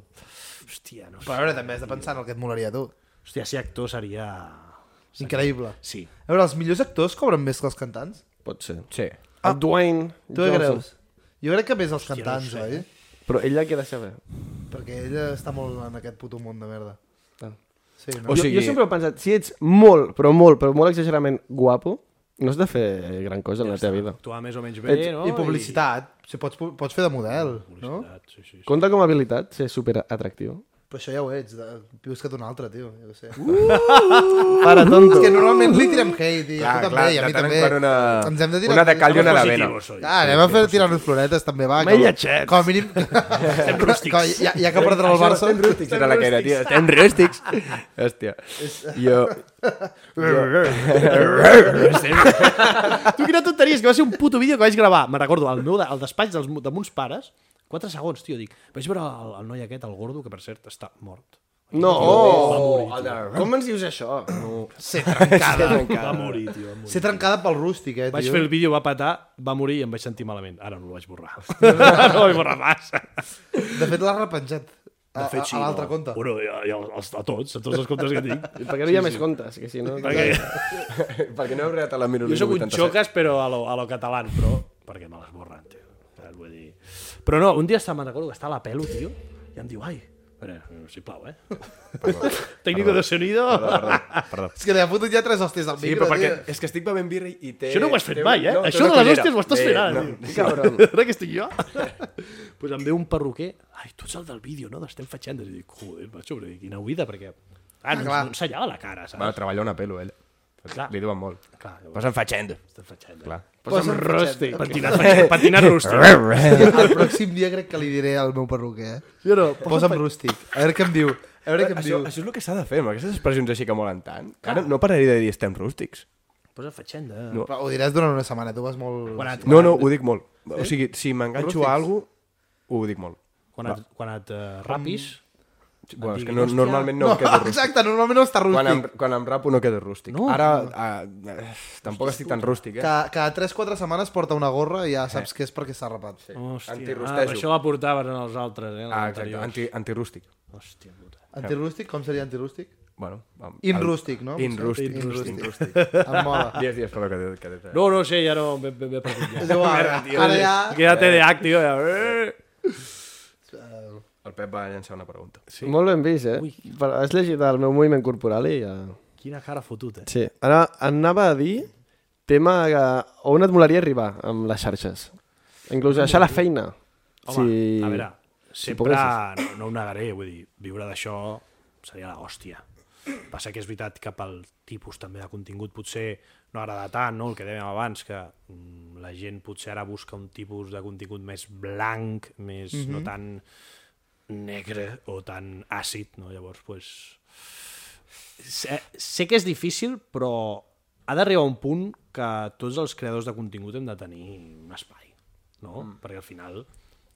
Hòstia, no Però a sé. veure, també has de pensar en el que et molaria a tu. Hòstia, ser actor seria... Increïble. Sí. A veure, els millors actors cobren més que els cantants? Pot ser. Sí. Ah, el Dwayne Tu què creus? Jo crec que més els cantants, no ho sé. oi? Però ella què deixa fer? Perquè ella està molt en aquest puto món de merda. Ah. Sí, no? O Jo, sigui- jo sempre he pensat, si ets molt, però molt, però molt exagerament guapo, no has de fer gran cosa en la teva vida. Actuar més o menys bé, Ets- no? I publicitat. Si pots, pu- pots fer de model, no? publicitat, Sí, sí, sí. Compte com a habilitat ser super atractiu. Però això ja ho ets. De... Vius que d'un altre, tio. Jo què sé. Para, tonto. És que normalment li tirem hate i a Clar, tu també, clar, i a de mi tant en també. quant una- Ens hem de tirar... una de cal i una de Positivo vena. soy. Ah, anem a fer tirar-nos floretes, també, va. Mai com- lletxets. Com a mínim... Estem rústics. Com, ja, ja que perdrà el Barça... Estem rústics, era tota la que era, tio. Estem rústics. Hòstia. Jo... Tu quina tonteria, és que va ser un puto vídeo que vaig gravar. Me'n recordo, al meu, de- al despatx dels, de mons pares, 4 segons, tio, dic, vaig veure el, el noi aquest, el gordo, que per cert està mort. No! Va morir, tio. Com ens dius això? No. Ser trencada. Va morir, tio. Va morir. Ser trencada pel rústic, eh, Vaig tio. fer el vídeo, va patar, va morir i em vaig sentir malament. Ara no el vaig borrar. Ara no el vaig borrar massa. De fet, l'ha repenjat. A, a, a l'altre compte. Bueno, ja, ja, els- a tots, a tots els comptes que tinc. I Per què no hi ha més comptes? Que si no... Perquè Perquè no hem reat a la jo sóc un 1987. xoques, però a lo, a lo català, però perquè me les borren, tio. Saps? Vull dir... Però no, un dia està, me'n recordo que està a la pelo, tio, i em diu, ai, espera, sisplau, eh? Tècnico de sonido... Perdó, perdó. És que t'ha fotut ja tres hòsties al Sí, micro, però perquè tio. és que estic bevent birra i té... Això no ho has fet té un- mai, eh? no, té Això una de cullera. les hòsties ho estàs Bé, fent ara, no. tio. Sí, Cabron. Ara que estic jo? Doncs pues em ve un perruquer, ai, tu ets el del vídeo, no? D'estem fatxant. I dic, joder, macho, però quina oïda, perquè... Ah, no, clar. no ensenyava la cara, saps? Va, treballa una pelo, ell. Clar. Li diuen molt. Clar, llavors- Posa'm fatxendo. Estem eh. fatxant. Clar. Posa'm Posa'm fatxant. rosti. Pentinat, fatxant, pentinat rosti. El pròxim dia crec que li diré al meu perruquer, eh? Jo no, Posa'm rústic. A veure què em diu. A veure què em Això, diu. això és el que s'ha de fer, amb aquestes expressions així que molen tant. Ara no pararé de dir estem rústics. Posa'm fatxant. No. Però ho diràs durant una setmana, tu vas molt... eh. Quan et, No, no, ho dic molt. O sigui, si m'enganxo Rústics. a alguna ho dic molt. quan et, quan et eh, rapis, Bueno, és que diguin, no, hòstia. normalment no, no quedo rústic. Exacte, normalment no està Quan em, rústic. quan em rapo no quedo rústic. No. No, Ara no. Eh, tampoc estic tan rústic, eh? Cada, cada 3-4 setmanes porta una gorra i ja saps que és perquè s'ha rapat. Sí. hòstia, ah, Antirrostejo. això la portaven els altres, eh? Ah, exacte, anti, antirústic. Hòstia, puta. Antirústic? Com seria antirústic? Bueno, amb- Inrústic, no? Inrústic. Inrústic. Inrústic. Em mola. 10 dies, però que té... Que té No, no sé, ja no, m'he- m'he m'he perdut És ja. igual, ara ja... Que ja té de act, tio. Ja. Eh. El Pep va llançar una pregunta. Sí. Molt ben vist, eh? Però Has llegit el meu moviment corporal i ja... Quina cara fotut, eh? Sí. Ara anava a dir tema que... on et molaria arribar amb les xarxes. Inclús deixar la feina. Home, sí. a veure, sempre, poguessis. no, no ho negaré, vull dir, viure d'això seria la hòstia. Passa que és veritat que pel tipus també de contingut potser no agrada tant, no? el que dèiem abans, que mm, la gent potser ara busca un tipus de contingut més blanc, més mm -hmm. no tan negre o tan àcid, no? llavors pues, sé, sé que és difícil, però ha d'arribar un punt que tots els creadors de contingut hem de tenir un espai, no? Mm. Perquè al final,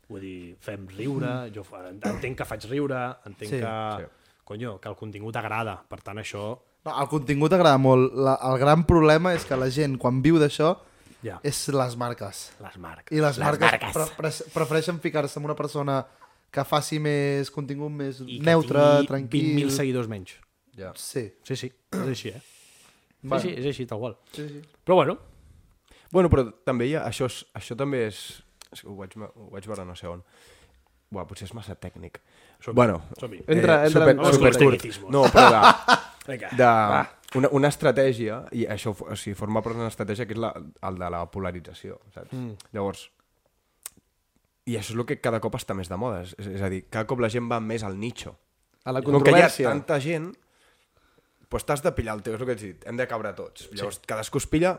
vull dir, fem riure, jo fa, entenc que faig riure, entenc Sí, sí, que, sí. conyo, que el contingut agrada, per tant això... No, el contingut agrada molt. La, el gran problema és que la gent, quan viu d'això, Ja. és les marques. Les marques. I les, marques, pre pre prefereixen ficar-se amb una persona que faci més contingut més I que neutre, tingui tranquil... 20.000 seguidors menys. Ja. Sí. Sí, sí, és així, eh? Sí, sí, és així, tal qual. sí, sí. Però bueno, Bueno, però també hi ha... Això, és, això també és... és que ho, vaig, ho vaig veure no sé on. Buah, potser és massa tècnic. Som-hi. bueno, eh, som-hi. Entra, entra super, en- Vamos super, con los tecnicismos. No, però de, vinga. de una, una estratègia, i això o sigui, forma part d'una estratègia que és la, el de la polarització, saps? Mm. Llavors, i això és el que cada cop està més de moda, és, és a dir, cada cop la gent va més al nicho. A la Com que hi ha controvèrsia. tanta gent, doncs t'has de pillar el teu, és el que ets dit, hem de cabre tots. Llavors, sí. cadascú es pilla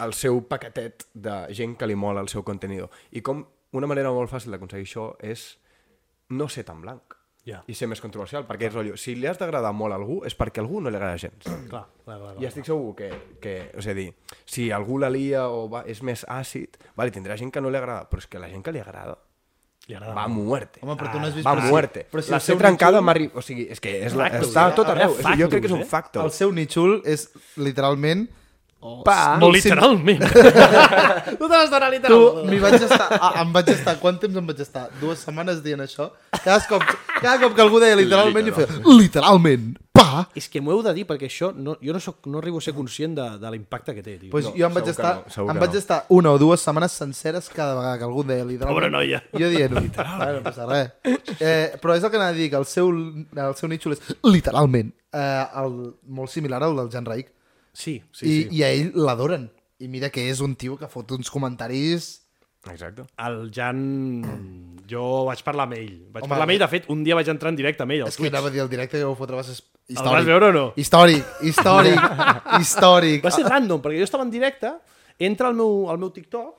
el seu paquetet de gent que li mola el seu contenido. I com una manera molt fàcil d'aconseguir això és no ser tan blanc Ja. i ser més controversial, perquè és rotllo, si li has d'agradar molt a algú és perquè a algú no li agrada gens. clar, clar, clar, I clar. estic segur que, que és a dir, si algú la lia o va, és més àcid, vale, tindrà gent que no li agrada, però és que la gent que li agrada Li agrada va a molt. muerte. Home, però tu no has vist... Va a però si- muerte. Però si la el sé seu trencada, m'ha arri- O sigui, és que és la, Factos, està eh? a tot arreu. Hi ha És, jo crec que és factos, un eh? factor. El seu nítxol és literalment... Oh, No, literalment. tu te l'has donat Tu, literalment. m'hi vaig estar, ah, em vaig estar, quant temps em vaig estar? Dues setmanes dient això? Cada cop, cada cop que algú deia literalment, i feia, literalment, pa! És que m'ho heu de dir, perquè això, no, jo no, soc, no arribo a ser conscient de, de l'impacte que té, tio. Pues No, jo em vaig segur que estar, no, segur em que vaig no. estar una o dues setmanes senceres cada vegada que algú deia literalment. Pobra noia. Jo dient, literalment. No passa res. Eh, però és el que anava a dir, que el seu, el seu nítxol és literalment eh, el, molt similar al del Jan Raik. Sí, sí, I, I, sí. I a ell l'adoren. I mira que és un tio que fot uns comentaris... Exacte. El Jan... Jo vaig parlar amb ell. Vaig Home, parlar amb ell, de fet, un dia vaig entrar en directe amb ell. És que anava a dir el directe que vau fotre va ser històric. vas veure o no? Històric, històric, històric. Va ser random, perquè jo estava en directe, entra al meu, al meu TikTok,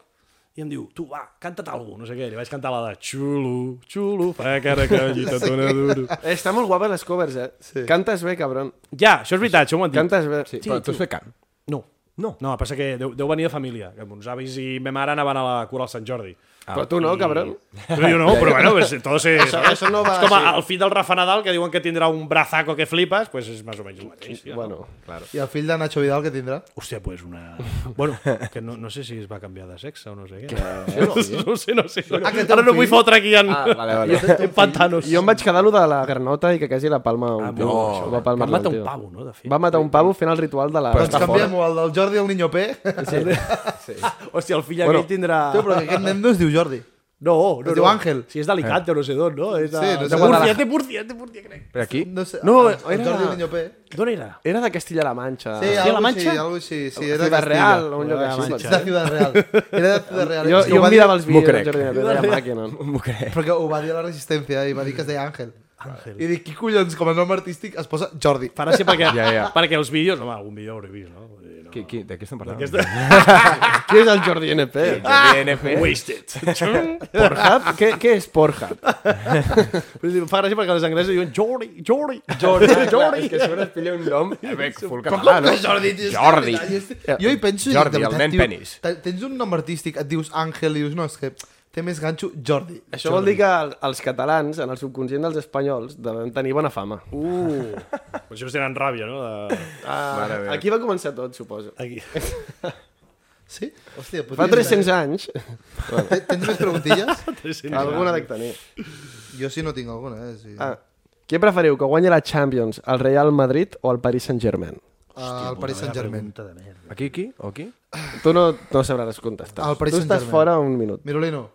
i em diu, tu va, canta't alguna no sé què. Li vaig cantar la de xulo, xulo, fa cara que gita tona duro. Eh, Està molt guapa les covers, eh? Sí. Cantes bé, cabron. Ja, això és veritat, això m'ho han dit. Cantes bé. Sí, però tu has fet cant. No. No. No, passa que deu, deu venir de família. Que mons avis Ah, i ma mare anaven a la cura al Sant Jordi. Però tu no, cabrón. Pero yo no, pero bueno, pues entonces... Eso- eso no va es como así. al fill del Rafa Nadal, que diuen que tindrà un brazaco que flipas, pues és més o menys el mateix. Ja, Bueno, I el fill de Nacho Vidal, que tindrà? Hòstia, pues una... Bueno, que no, no sé si es va canviar de sexe o no sé què. No, no sé, no sé. Ah, que té Ara un no vull fill. fotre aquí en, Ah, vale, vale. en pantanos. jo em vaig quedar lo de la granota i que quasi la palma un tio. no, Això va Ah, Va palmar matar el un tio. pavo, no, de fet? Va matar un pavo fent el ritual de la... Doncs canviem-ho, el del Jordi el Niño P. Tio, Hòstia, el fill Bueno, aquell tindrà... però que aquest nen no es diu Jordi. No, no, Es diu no. Ángel. Si és d'Alicante, no sé d'on, no? És de, Sí, no sé. no de Múrcia, té Múrcia, té Múrcia, crec. Però aquí? No, sé, No, el, el era- Jordi el Niño P. D'on era? Era de Castilla-La Manxa. Sí, la algo Manxa? així, algo així. Sí, era era Ciudad Castilla. Real, o un lloc Ciudad així. Manxa, És de Ciudad Real. Era de Ciudad Real. Jo, És que jo ho va em dir- mirava els M'ho vídeos del crec. Jordi Navidad, era màquina. no? M'ho crec. Però que ho va dir a la Resistència i va dir que es deia Àngel. I dic, qui collons, com a nom artístic, es posa Jordi. Farà ser perquè, Ja, ja. perquè els vídeos... Home, algun vídeo hauré vist, no? Vull dir, no. Qui, qui, de què estem parlant? Aquesta... Qui és el Jordi NP? Wasted. Pornhub? Què, què és Pornhub? Vull dir, em fa gràcia perquè els anglesos diuen Jordi, Jordi, Jordi, clar, és Jordi, Jordi. que a sobre es pilla un nom bec, full català, Ah, no? Jordi, tio, és que Jordi. de veritat, Jo hi penso... i dic, Jordi, de el veritat, nen tio, penis. te- Tens un nom artístic, et dius Àngel i dius, no, és que té més ganxo Jordi. Això vol dir que el- els catalans, en el subconscient dels espanyols, devem tenir bona fama. Uh. Pues això us tenen ràbia, no? De... Mare meva. ah, Aquí va començar tot, suposo. Aquí. Sí? Hòstia, Fa podries- 300 anys, Te- Tens més preguntilles? alguna dec tenir. Jo sí no tinc alguna, eh? Sí. Ah, què preferiu, que guanyi la Champions, el Real Madrid o el Paris Saint-Germain? Ah, el Paris Saint-Germain. Aquí, aquí? O aquí? Tu no, no sabràs contestar. El Paris tu estàs Saint-Germain. fora un minut. Mirolino.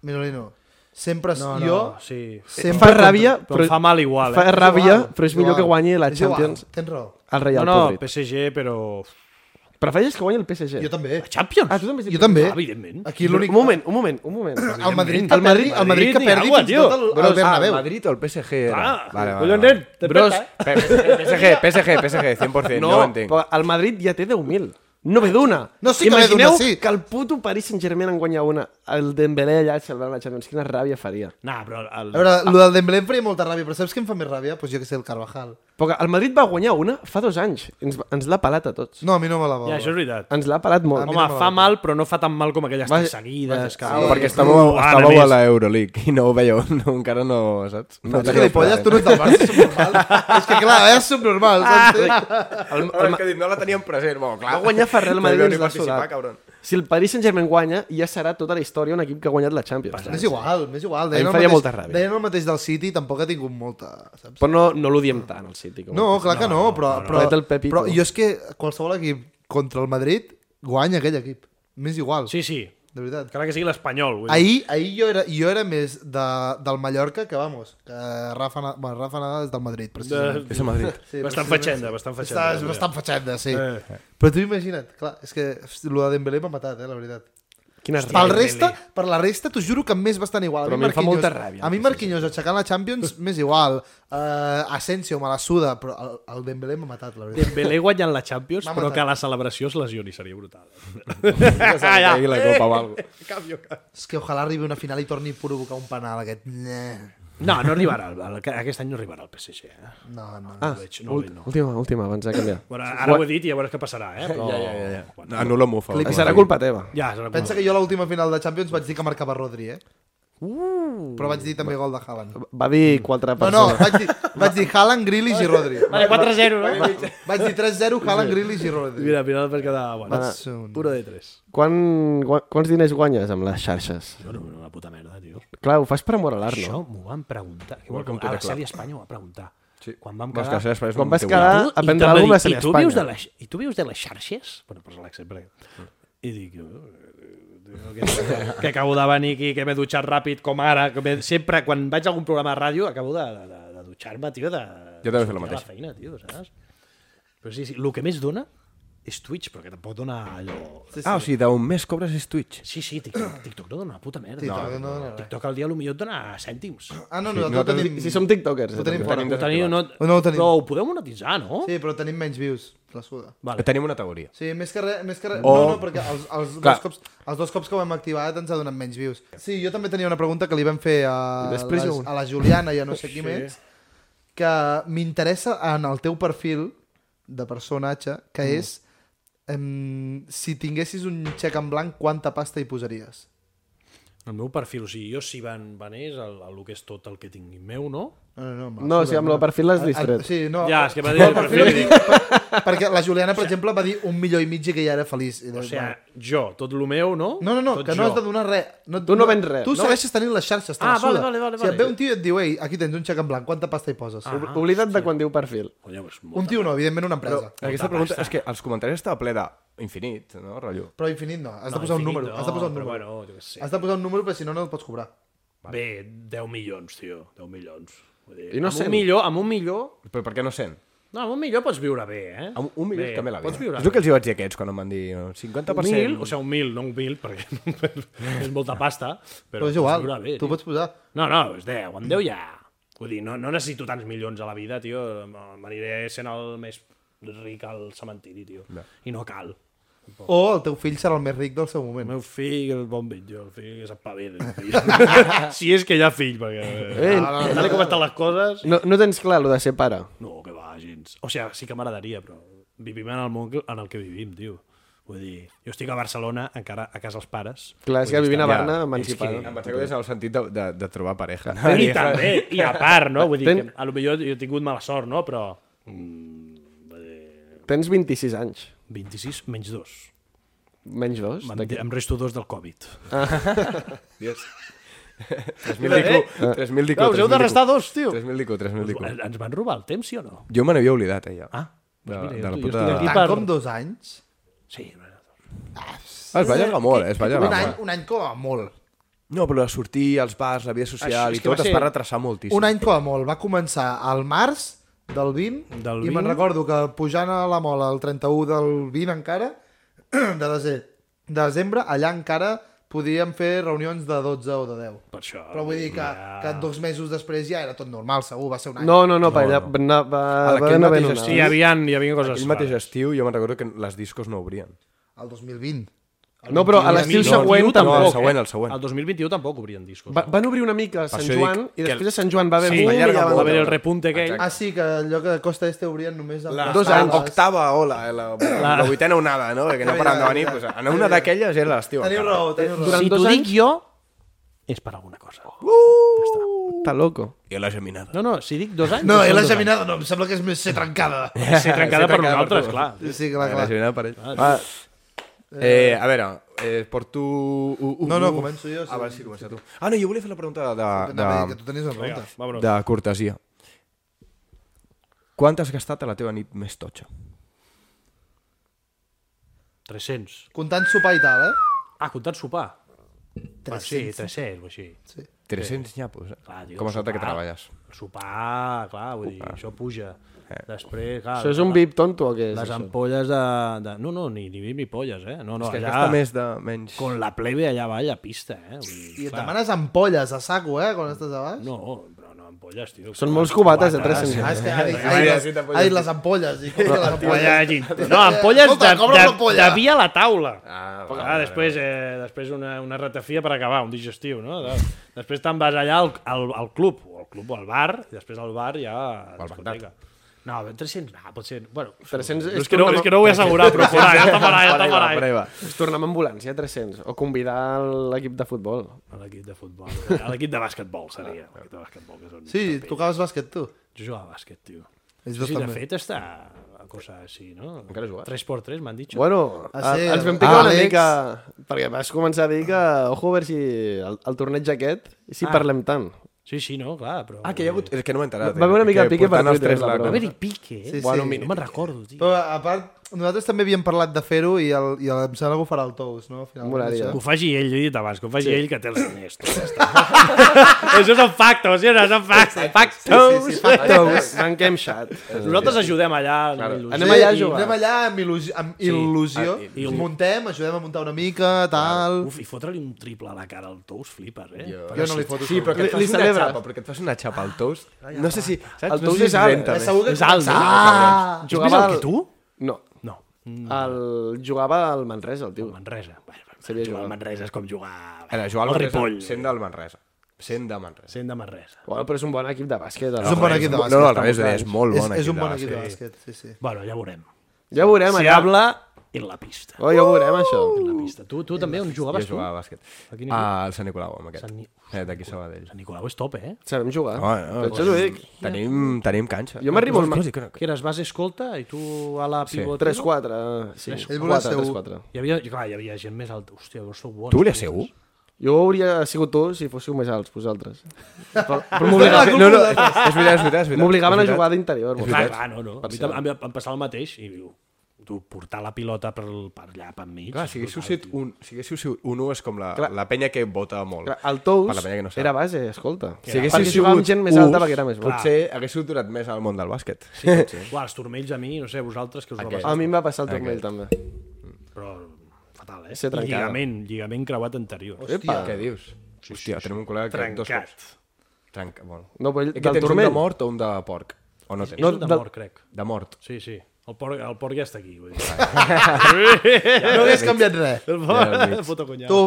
Mirolino. Sempre no, No, no. no, jo... sí. Sempre Fa ràbia, Però, em fa mal igual, Fa eh? ràbia, Igual, però és millor igual. que guanyi la És igual, Champions Tens raó. al No, Real no, Madrid. PSG, però... Prefereixes que guanyi el PSG? Jo també. Champions? Ah, tu també has dit Jo també. Ah, evidentment. Aquí l'únic... Ah, Un moment, un moment, un moment. El Madrid, El el Madrid, Madrid- el Madrid que ni perdi agua, fins i tio. tot el, el Bernabéu. ah, Madrid o el PSG era. Ah, vale, vale, collons, vale. nen, te Bros, peta, pe- PSG, PSG, PSG, 100%, no, ho entenc. però el Madrid ja té 10.000. No ve d'una. No, sí que ve d'una, Imagineu sí. que el puto Paris Saint-Germain en guanya una. El Dembélé allà salvant la Champions. Quina ràbia faria. Nah, però... El... A veure, el del Dembélé em faria molta ràbia, però saps què em fa més ràbia? Doncs pues jo que sé, el Carvajal. Però que el Madrid va guanyar una fa dos anys. Ens, ens l'ha pelat a tots. No, a mi no me la va. Ja, això és veritat. Ens l'ha pelat molt. mi Home, no me fa va. mal, però no fa tan mal com aquelles Vaja- tres seguides. Que... Ah, perquè estàveu, Uh, ara estàveu a més. l'Euroleague i no ho veieu, no, encara no, saps? No és que li polles, tu no ets del Barça, subnormal. és que clar, eh, és subnormal, Ah, saps? El, el, que dic, no la teníem present, bueno, clar. Va guanyar Ferrer el Madrid No hi i ens vau l'ha ni participar, sudat. cabron. Si el Paris Saint-Germain guanya, ja serà tota la història un equip que ha guanyat la Champions. M'és igual, m'és igual. A mi em Deien el faria mateix- molta ràbia. Deien el mateix del City, tampoc ha tingut molta, saps? Però no, no l'odiem tant, el City. Com No, clar que no, però, però, Vet el Pepito. però jo és que qualsevol equip contra el Madrid guanya aquell equip. M'és igual, Sí, sí. de veritat. Encara que sigui l'espanyol. vull dir. Ahir, ahir jo, era, jo era més de, del Mallorca que, vamos, que Rafa, Na- bueno, Rafa Nadal és del Madrid, precisament. És a Madrid. Sí, Eh, precisament, bastant fatxenda, bastant eh, fatxenda, Està- És també. bastant fatxenda, sí. Eh. Però tu imagina't, clar, és que hosti, lo de Dembélé m'ha matat, eh, la veritat. Quina Pel ràbia. resta, per la resta, t'ho juro que em més bastant igual. Però a mi em fa Marquinhos- molta ràbia, A mi sí, sí, Marquinhos aixecant la Champions, més igual. Uh, Asensio me la suda, però el, el Dembélé m'ha matat, la veritat. Dembélé guanyant la Champions, M'ha però matat. que a la celebració es lesioni, seria brutal. Eh, Ja Ah, se li caigui la copa o alguna cosa. Canvio, canvio. És que ojalà arribi una final i torni a provocar un penal, aquest. Nyeh. No, no arribarà. El, el, aquest any no arribarà el PSG. Eh? No, no. Ah, no, ho veig, no, ho veig, no. Última, última, abans de canviar. Bueno, ara ho he dit i ja veuràs què passarà, eh? Però... Ja, ja, ja. ja. Anul·lo mufa. Li I serà culpa teva. Ja, serà com- Pensa que jo a l'última final de Champions vaig dir que marcava Rodri, eh? Uh, Però vaig dir també gol de Haaland. Va dir Mm. quatre No, no, persones. vaig dir, vaig dir Haaland, Grealish i Rodri. Vale, 4-0, no? Vaig dir 3-0, Haaland, Grealish i Rodri. Mira, mira, per quedar... Bueno, Vaig Vaig... ser un- Uno de tres. Quan, gua- quants diners guanyes amb les xarxes? No, no, una puta merda, tio. Clar, ho fas per amoralar-lo. Això m'ho van preguntar. Que Welcome vol, to a the la club. sèrie Espanya ho va preguntar. Sí. Quan vam Vas que quedar... després Quan un vas teu quedar- gol. Tu- Ah, aprendre i te va alguna dir, cosa de "I tu vius de Espanya". les- I tu vius de les xarxes? Bueno, posa l'accent, perquè... I dic jo... eh, Que, que acabo de venir aquí, que m'he dutxat ràpid com ara, que m'he- sempre quan vaig a algun programa de ràdio acabo de, de, de, de dutxar-me, tio, de... Jo també he fet el mateix. De sortir a la feina, tio, saps? Però sí, sí, el que més dona és Twitch, però que tampoc dona allò... Ah, o sigui, d'un mes cobres és Twitch. Sí, sí, TikTok, TikTok no dona una puta merda. TikTok no dona res. TikTok al dia potser et dona cèntims. Ah, no, no, nosaltres nosaltres- tenim... Si som tiktokers. Ho tenim eh, fora. Ho teniu, no, O no ho tenim. Però ho podeu monetitzar, no? Sí, però tenim menys views, la suda. Vale. Tenim una teoria. Sí, més que res... Més que re... O- No, no, perquè els, els, Clar. dos cops, els dos cops que ho hem activat ens ha donat menys views. Sí, jo també tenia una pregunta que li vam fer a, I després la, jo un. a la Juliana i a no sé qui més, que m'interessa en el teu perfil de personatge, que mm. és em, si tinguessis un xec en blanc, quanta pasta hi posaries? El meu perfil, o sigui, jo si van, van és el, el, que és tot el que tingui meu, no? No, no, no, No, sí, amb el perfil l'has distret. Ah, Sí, no. Ja, és que va dir el perfil. li dic per- perquè la Juliana, per exemple, va dir un milió i mig i que ja era feliç. I O doncs, sigui, bueno. jo, tot el meu, no? No, no, no, tot que no jo. has de donar res. Tu no vens res, Tu no? segueixes tenint les xarxes, te Ah, la vale, suda. vale, vale, Si et vale. Ah. ve un tio i et diu, ei, aquí tens un xec en blanc, quanta pasta hi poses? Ob- Oblida't de quan diu perfil. Colleu, és molt... Un tio no, evidentment una empresa. Però, Aquesta pregunta és que els comentaris està ple d'infinit, no, rotllo? infinit no, has de posar un infinit número. no, has de posar un número. però bueno, jo què sé. Has de posar un número, perquè si no, no et pots cobrar. Bé, 10 milions, tio, 10 milions. Vull dir, I no amb cent. un milió, amb un milió... Però per què no 100? No, amb un milió pots viure bé, eh? Amb un milió Bé, et canvia la vida. Pots viure És el que els hi vaig dir a aquests quan em van dir no, 50%... Un mil, o sigui, un mil, no un mil, perquè és molta pasta, però, Però és pots igual, viure bé, tu tio. pots posar... No, no, és 10, amb 10 ja... Vull dir, no, no necessito tants milions a la vida, tio, m'aniré sent el més ric al cementiri, tio. No. I no cal. O el teu fill serà el més ric del seu El moment. meu fill, el bon vell, jo, el fill que s'espavila. el fill. si és que hi ha fill, perquè... Eh, tal com estan les coses... No, no tens clar, lo de ser pare. No, que va, gens. O sigui, sí que m'agradaria, però vivim en el món que- en el que vivim, tio. Vull dir, jo estic a Barcelona, encara a casa els pares. Clar, és que vivint a ja, Barna, és emancipada. Em pensava que ho deies en el sentit de, de, de trobar pareja. I també, i a part, no? Vull dir, Ten- que a lo millor jo he tingut mala sort, no? Però mm, Tens 26 anys. 26 menys 2. Menys dos. Em, d'aquí. em resto dos del Covid. Dios. eh? 3.000 d'IQ. 3.000 d'IQ. Clar, us heu de restar dos, tio. 3.000 d'IQ, 3.000 d'IQ. Ens van robar el temps, sí o no? Jo me n'havia oblidat, eh, ella. Ah, de, mira, de jo- la jo puta... estic aquí. Tant per- com dos anys? sí. Ah, es va allargar molt, eh? Es va Un allargar any, molt. un any com a molt. No, però sortir als bars, la vida social Això és i que va tot es ser- va retrasar moltíssim. Un any com a molt. Va començar al març del 20 Del i 20. me'n recordo que pujant a la mola el 31 del 20 encara, de, dese, de desembre, allà encara podíem fer reunions de 12 o de 10. Per això, Però vull dir que, ja. que dos mesos després ja era tot normal, segur, va ser un any. No, no, no, per allà va, va, A va aquell anar ben mateix una. Sí, hi havia, hi havia coses... Aquell mateix estiu jo me'n recordo que les discos no obrien. El 2020. No, però a l'estiu següent no, tampoc. el següent, el següent. El 2021 tampoc obrien discos. Va, van obrir una mica a Sant això dic Joan i que després a Sant Joan va haver sí, boom va i allargar ja van- molt. haver el repunte aquell. Ah, sí, que allò que Costa Este obrien només... amb les Dos taules. anys. Octava ola, eh, la, la, la vuitena onada, no? Que no paràvem de venir. Pues, en una d'aquelles era l'estiu. Teniu encara. raó, teniu raó. Durant si dos t'ho dic anys... jo, és per alguna cosa. Està loco. I la geminada. No, no, si dic dos anys... No, són i la dos anys. geminada no, em sembla que és més ser trencada. Ser trencada trencada per per nosaltres, tu. clar. Sí, sí, clar, La clar. geminada per ell. Ah. Va. Eh, a veure, eh, porto... u- u- No, no, u- començo jo, sí. Ah, vale, sí, comença tu. Ah, no, jo volia fer la pregunta de, de, Anava a dir que tu tenies una pregunta. de, Vámonos. de cortesia. Quant has gastat a la teva nit més totxa? 300. Comptant sopar i tal, eh? Ah, comptant sopar. 300. Sí, 300 o així. 300 nyapos, eh? Clar, tio, Com es nota que sopar. treballes. El sopar, clar, vull dir, això puja. Després, clar... Això és un vip tonto o què és? Les això? ampolles de... de... No, no, ni, ni vi ni polles, eh? No, no, Que allà... gasta més de menys... Con la plebe allà avall a pista, eh? Vull dir, I et demanes ampolles a saco, eh, quan estàs a baix? No, però no ampolles, tio. Són molts cubates de 300. Ah, és que ha dit, ha Ai, dit, sí, les, t'ampolles. ha dit les ampolles. I com que les ampolles? Ampolles, no, ampolles de, Escolta, cobra de, una ampolla. de vi a la taula. Ah, Però, clar, després, eh, després una, una ratafia per acabar, un digestiu, no? De- Després te'n vas allà al, al, al club, o al club o al bar, i després al bar ja... a discoteca. No, 300, no, pot ser... Bueno, 300 no, és, que no, és que no ho vull assegurar, però por ahí, ja està per ahí, ja Per està ahí per va, per ahí. ahí va. És tornar amb ambulància, 300. O convidar l'equip de futbol. A l'equip de futbol, a l'equip de bàsquetbol seria. a L'equip de bàsquetbol, que són... Sí, tocaves bàsquet, tu. Jo jugava a bàsquet, tio. Ells Sí, dos sí, de també. fet està a cosa així, no? Encara jugues? 3x3, m'han dit. Bueno, Bueno, Ah, ah, sí, sí, ens vam el- picar ah, una Àlex. mica... Perquè vas començar a dir que... Ojo, a veure si el, el torneig aquest... I si parlem tant. sí, sí, no, clar, però... Ah, que hi ha hagut... És que no m'he enterat. Va haver eh, una mica que de pique per portant els Twitter, tres la la- Va broma. haver-hi pique, eh? Sí, sí. bueno, mira, no me'n recordo, tio. Però, a part, nosaltres també havíem parlat de fer-ho i, el, i el, em sembla que ho farà el Tous, no? Finalment, Molaria. Que això. ho faci ell, jo he dit abans, que ho faci sí. ell que té els diners. tu, ja està. Això són factos, sí, no? són factos. factos. Sí, sí, fa- Tous, tanquem xat. Nosaltres ajudem allà. Claro. Anem allà a i jugar. Anem allà amb il·lusió, amb il·lusió ah, i- i, muntem, ajudem a muntar una mica, tal... Uf, i fotre-li un triple a la cara al Tous, flipes, eh? Jo. jo no li foto. Sí, però que Li- et faci li una celebra. xapa, perquè et faci una xapa al toast. No sé si... Saps? El no Tous sé és si alt, lenta, eh? més. Segur que És alt, no? Ah! És més Jugava alt al- que tu? No. No. El... Jugava al Manresa, el tio. Manresa. Bueno, Sabia jugar jugar. al Manresa és com jugar Ara, Joan al Manresa, Ripoll. Sent del Manresa. Sent de Manresa. Sent de Manresa. Bueno, però és un bon equip de bàsquet. És un bon equip de No, bàsquet. no, al revés, deia, és molt És, bon és un bon bàsquet. equip de bàsquet, sí, sí. Bueno, ja veurem. Ja veurem, Si allà. habla, en la pista. Oh, ja ho veurem, això. En la pista. Tu, tu també, on jugaves jo tu? jugava a bàsquet. A quin Ah, al Sant Nicolau, amb aquest. Sant Ni- Eh, d'aquí Sabadell. Sant Nicolau és top, eh? Sabem jugar. No, no, això t'ho dic. Tenim, tenim canxa. Jo m'arribo al- Hosti, que- Que eres base escolta i tu a la Sí. pivot. 3-4. Sí, Ell volia ser 4, u. 3-4. Hi havia, clar, hi havia gent més alta. Hòstia, doncs vos sou bons. Tu volies ser u? Jo hauria sigut tu si fóssiu més alts, vosaltres. Però, però la m'obligaven- culpa No, no, és és veritat, és veritat. és veritat. m'obligaven a És veritat. jugar d'interior. Clar, vosaltres. clar, no, no. A mi, Parcial. tam- a mi em passava el mateix i diu, tu portar la pilota per, per allà, per mig. Clar, és si haguéssiu brutal, sigut tio. un, si haguéssiu sigut un u és com la, Clar. la penya que vota molt. Clar, El Tous Per la penya que no sap. era base, escolta. Si haguéssiu perquè jugava amb sigut gent més us, alta perquè era més bo. Potser haguéssiu durat més al món del bàsquet. Sí, potser. Uah, els turmells a mi, no sé, vosaltres, que us Aquest. okay. A va passar. mi em va passar el turmell, també. Però fatal, eh? Ser I trencada. lligament, lligament creuat anterior. Hòstia, què dius? Hòstia, tenim un col·lega que dos Trencat. cops. Trenca, bueno. No, però ell- És que del tens turmell. un de mort o un de porc? O no tens? No, és un del- d'amor, crec. De mort. Sí, sí. El porc, el porc ja està aquí. Vull dir. No hagués canviat res. El Era al porc, mig. foto conya. Tu,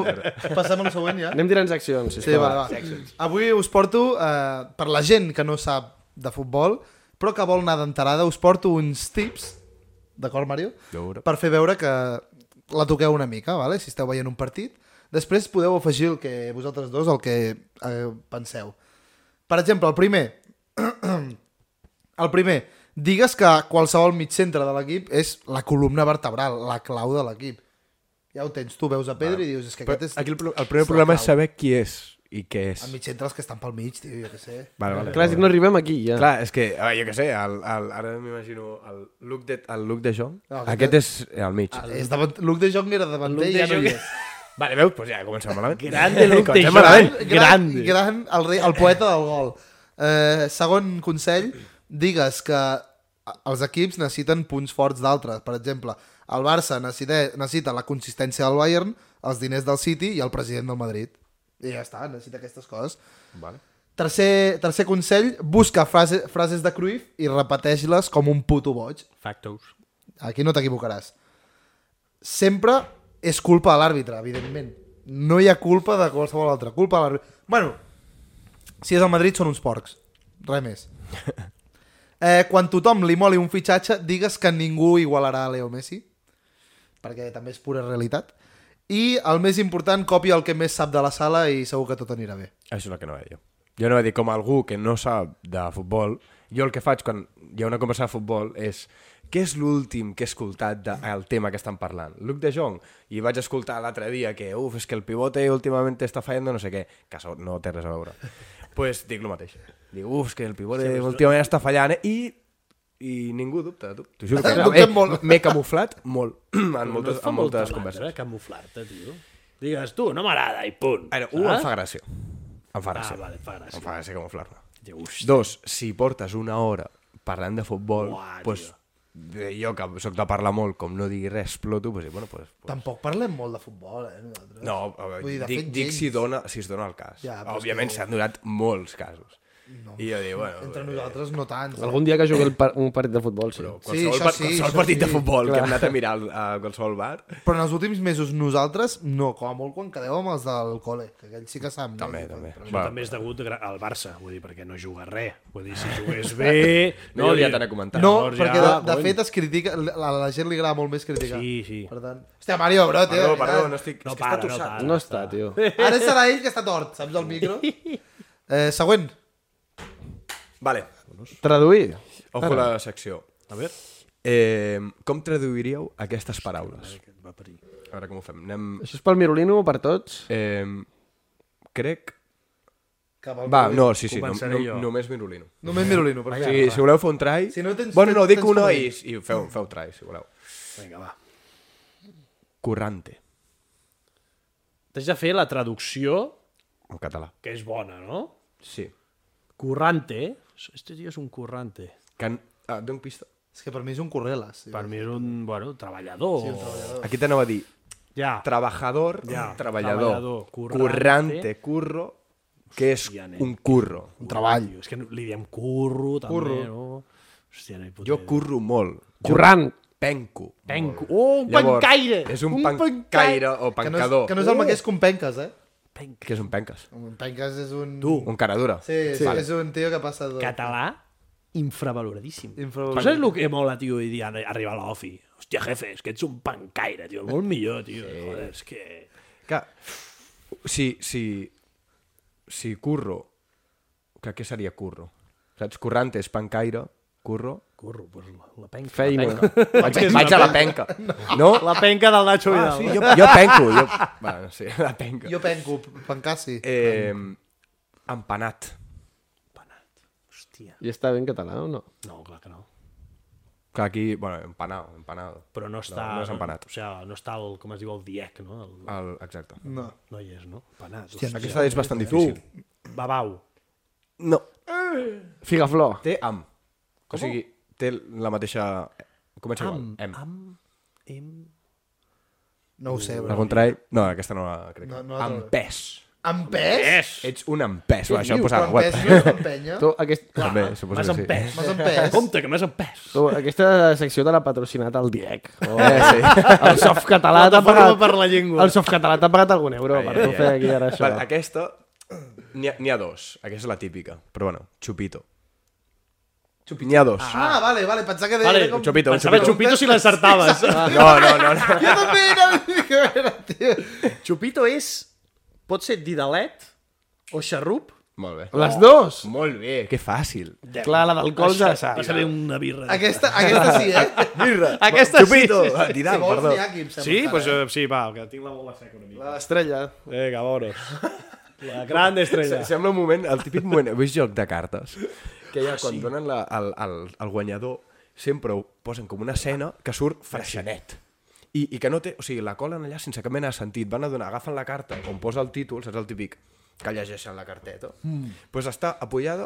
passem al següent, ja? Anem tirant seccions, sisplau. Sí, va, va. Avui us porto, eh, per la gent que no sap de futbol, però que vol anar d'enterada, us porto uns tips, d'acord, Mario? Veure. Per fer veure que la toqueu una mica, vale? si esteu veient un partit. Després podeu afegir el que vosaltres dos, el que eh, penseu. Per exemple, el primer, el primer, digues que qualsevol mig centre de l'equip és la columna vertebral, la clau de l'equip. Ja ho tens, tu veus a Pedro i dius, és que Però aquest és... Aquí el, pro- el primer problema és clau. saber qui és i què és. El mig centre, els que estan pel mig, tio, jo què sé. Vale, vale. Clar, és que no arribem aquí, ja. Clar, és que, ah, jo què sé, el, el, ara m'imagino el look de, el look de Ah. Jong. No, aquest- aquest és al mig. El... És davant... Luke de Jong era davanter i ja no hi és. Vale, veus? Pues ja comencem malament. Grande Luke de Comencem Jong. malament. Gran, Grande. gran el, rei, el poeta del gol. Eh, segon consell, digues que els equips necessiten punts forts d'altres. Per exemple, el Barça necessita, necessita la consistència del Bayern, els diners del City i el president del Madrid. I ja està, necessita aquestes coses. Vale. Tercer, tercer consell, busca frase, frases de Cruyff i repeteix-les com un puto boig. Factos. Aquí no t'equivocaràs. Sempre és culpa de l'àrbitre, evidentment. No hi ha culpa de qualsevol altra. Culpa de l'àrbitre. Bueno, si és el Madrid són uns porcs. Res més. Eh, quan tothom li moli un fitxatge, digues que ningú igualarà a Leo Messi, perquè també és pura realitat. I el més important, copia el que més sap de la sala i segur que tot anirà bé. Això és el que no veia jo. Jo no vaig dir com algú que no sap de futbol, jo el que faig quan hi ha una conversa de futbol és què és l'últim que he escoltat del tema que estan parlant? Luc de Jong. I vaig escoltar l'altre dia que, uf, és que el pivote últimament està fallando no sé què, que això no té res a veure. pues dic el mateix. Dic, uf, és que el pivote últimament està fallant eh? i i ningú dubta de tu. T'ho juro que Dubtem molt. m'he camuflat molt en moltes, fa en molta moltes mandra converses. Camuflar-te, tio. Digues, tu, no m'agrada, i punt. Ara, un, em Saps? fa gràcia. Em fa gràcia. eh? Ah? vale, et fa gràcia. Em fa gràcia camuflar-me. Diu, "Hosti". Dos, si portes una hora parlant de futbol, Uah, pues, tio. de jo que sóc de parlar molt, com no digui res, exploto, pues, bueno, pues, pues, Tampoc parlem molt de futbol, eh, nosaltres. no, a veure, Vull dir, de dic, fet, dic si, gens. dona, si es dona el cas. Ja, Ja, però és Òbviament que- s'han donat molts casos. No, I jo dic, bueno, Entre eh, nosaltres no tant. Algun dia que jugui el par un partit de futbol, sí. però Però... qualsevol, això par- sí, qualsevol això partit sí. de futbol que hem anat a mirar al- a qualsevol bar, Però en els últims mesos nosaltres, no, com a molt quan quedeu amb els del col·le, que aquells sí que saben. també, eh? també. Però això Va, també és degut gra- al Barça, vull dir, perquè no juga res. Vull dir, si jugués bé... no, dir- ja t'anà comentant. No, Llavors perquè de, ja, de cony. fet es critica, a la gent li agrada molt més criticar. Sí, sí. Per tant... Hòstia, Mario, bro, tio. Perdó, de perdó, veritat. no estic... No és que para, està no tossat. para. No està, tio. Ara serà ell que està tort, saps, el micro? Eh, següent. Vale, Traduir. ojo a la secció. A veure, Eh, com traduiríeu aquestes paraules? va parir. A veure com ho fem. Anem... Això és pel Mirolino o per tots? Eh, crec... Cap al Va, Mirolino. no, sí, sí, no, Començaré no, jo. només Mirolino. Només Mirolino, per O favor. sigui, si voleu fer un try... Si no tens- bueno, no, tens- dic tens una i, comodí. i feu, feu try, si voleu. Vinga, va. Currante, T'haig de fer la traducció, en català. que és bona, no? Sí. Currante. Este tio és un currante. Can... Ah, et dono pista. És que per mi és un correles. Sí. Per mi és un, bueno, treballador. Sí, un treballador. Aquí t'anava a dir Ja. trabajador, Ja, treballador, treballador, currante. currante, curro, que és Hòstia, nen. un curro. Un treball. És que li diem curro, també, curro. no? Hòstia, no hi puc... Jo curro molt. Currant. Penco. Penco. Oh, un Llavors, pencaire! És un, pencaire o Que no, és, pencador. que no és el mateix que un penques, eh? Penca. Què és un penques? Un penques és un... Tu, Un cara dura. Sí, sí, és un tio que passa... De... català, infravaloradíssim. Infravaloradíssim. Però saps el que mola, tio, i dir, arribar a l'ofi? Hòstia, jefe, és que ets un pancaire, tio, molt millor, tio. Sí. Joder, és que... Que, si, si, si curro, que què seria curro? Saps? Currante és pancaire, curro... Curro, pues la, la penca. Feina. Vaig, vaig a la penca. No? La penca del Nacho Vidal. Ah, sí, Jo, jo penco. Jo... Bueno, sí, la penca. Jo penco, pencassi. Eh. Eh, empanat. Hòstia. I està ben català o no? No, clar que no. Que aquí, bueno, empanado, empanado. Però no està... no és empanat. O sigui, no està el, com es diu, el diec, no? El, El, exacte. No. No hi és, no? Empanat. Hòstia, Hòstia, Aquesta és bastant Mm. difícil. babau. No. Figaflor. Té am. Com? O sigui, té la mateixa... Comença am, igual. Am. am. Em... No ho sé, Al bro. contrari... No, aquesta no la crec. No, No, no no la trobo. Empès. Amb pes? Ets un empès. Va, Eh, això ho Diu, posarà a la quan pes, web. no és empenya. Tu, aquest... També, suposo M'has que sí. empès. M'has empès. Compte, que m'has empès. Tu, aquesta secció te l'ha patrocinat el DIEC. Oh, O Eh, sí. el softcatalà t'ha Plataforma pagat... per la llengua. El softcatalà t'ha pagat algun euro per tu fer aquí ara això. Vale, aquesta... N'hi ha, n'hi ha dos. Aquesta és la típica. Però bueno, xupito. Xupito. N'hi ha dos. Ah, vale, vale, pensava que deia Vale, com... xupito, un Pensava xupito. xupito si l'encertaves. No, no, no. no. Jo també era... tio. Xupito és... Pot ser didalet o xarrup. Molt bé. Les dues? Molt bé. Que fàcil. Clar, la del col ja la Va saps. saber una birra. Aquesta, aquesta sí, eh? Mirra. Aquesta sí, xupito. sí, sí. Ah, Didal, si vols, perdó. n'hi ha aquí, em sembla. Sí, encara, pues, eh? eh, sí, va, que tinc la bola seca una mica. L'estrella. Vinga, vamonos. La gran estrella. Se- Sembla un moment, el típic moment, he vist joc de cartes, que Ah, ja quan donen la, el, el, el guanyador sempre ho posen com una escena que Ah, surt freixenet. I, I que no té... O sigui, la colen allà sense cap mena de sentit. Van a donar, agafen la carta on posa el títol, saps el típic que llegeixen la carteta. Doncs mm. pues està apoyada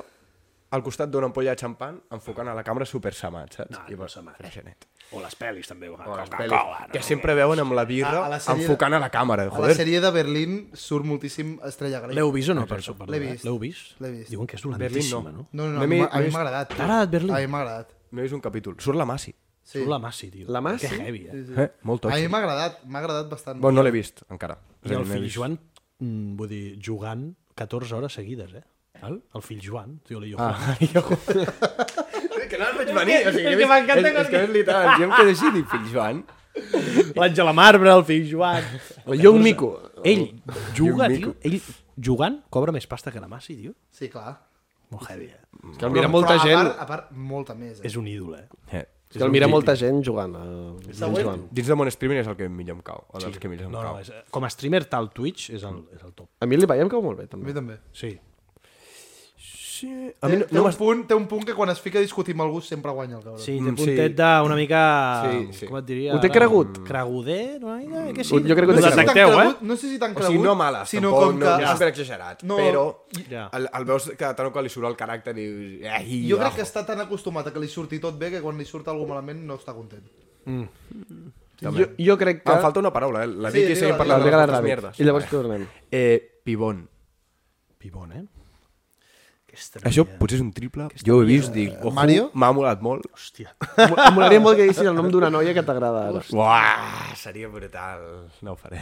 al costat d'una ampolla de xampan enfocant a la càmera super samat, saps? Ah, No, no samat. Freixenet. O les pel·lis, també. O les pel·lis, Coca-Cola, no? que sempre veuen amb la birra A- a la sèrie- enfocant a la càmera. A la Joder, sèrie de Berlín surt moltíssim Estrella Galí. L'heu vist o no? Per sopar? L'he vist. L'heu vist? L'he vist. Diuen que és Berlín no. dolentíssima, no? No, no, no, a No m'he- mi, m'ha- a mi no m'he- m'ha agradat. tio. T'ha agradat Berlín? A mi m'ha agradat. M'he vist un capítol. Surt la Massi. Sí. Surt la Massi, tio. La Massi? Que heavy, eh? Eh? Molt A tot. mi m'ha agradat, m'ha agradat bastant. Bon, no l'he vist, encara. És a dir, I no el l'he fill vist. Joan, mm, vull dir, jugant 14 hores seguides, eh? El, el fill Joan, tio, li jo. Ah, jo... que no el veig venir. O sigui, és que m'encanta és, és que és literal. Jo em quedo així, dic, fill Joan. L'Àngela Marbre, el fill Joan. El Young Mico. Ell juga, Young tio, ell jugant cobra més pasta que la Massi, tio. Sí, clar. Molt heavy, eh? És que el mira molta Però A gent... part, a part molta més, eh? És un ídol, eh? Eh. És que el mira molta gent jugant. El Següent. Joan. Dins de mon streaming és el que millor em cau. O dels que millor em No, no, cau. és, com a streamer tal Twitch és el, és el top. A mi li veiem cau molt bé, A mi també. també. Sí. A mi no, té, no un m'has- punt, té un punt que quan es fica a discutir amb algú sempre guanya el cabrón. Sí, té Mm, puntet sí. d'una mica... Sí, sí. Com et diria? Ho té ara? cregut. Cregudet, una mica? Eh, Que sí? Ho- jo crec que ho té Us cregut. tan detecteu, eh? cregut, no sé si tan O cregut, sigui, no males, sinó tampoc, com no, que... no és super exagerat, No. però Ja. el, el, veus que de tant en qual li surt el caràcter i dius... "Eh, Ai, Jo crec que està tan acostumat a que li surti tot bé que quan li surt alguna cosa malament no està content. Jo, jo crec que... Em falta una paraula, eh? La Sí, Vicky digue-la, seguim La parlant de Liga les de altres Ràbid. mierdes. I llavors tornem. Eh, pivon. Pibon, eh? Aquesta Això potser és un triple. Jo ho he vist, dic... Ojo, Mario? M'ha molat molt. Hòstia. Em molaria molt que diguessis el nom d'una noia que t'agrada ara. Uah, seria brutal. No ho faré.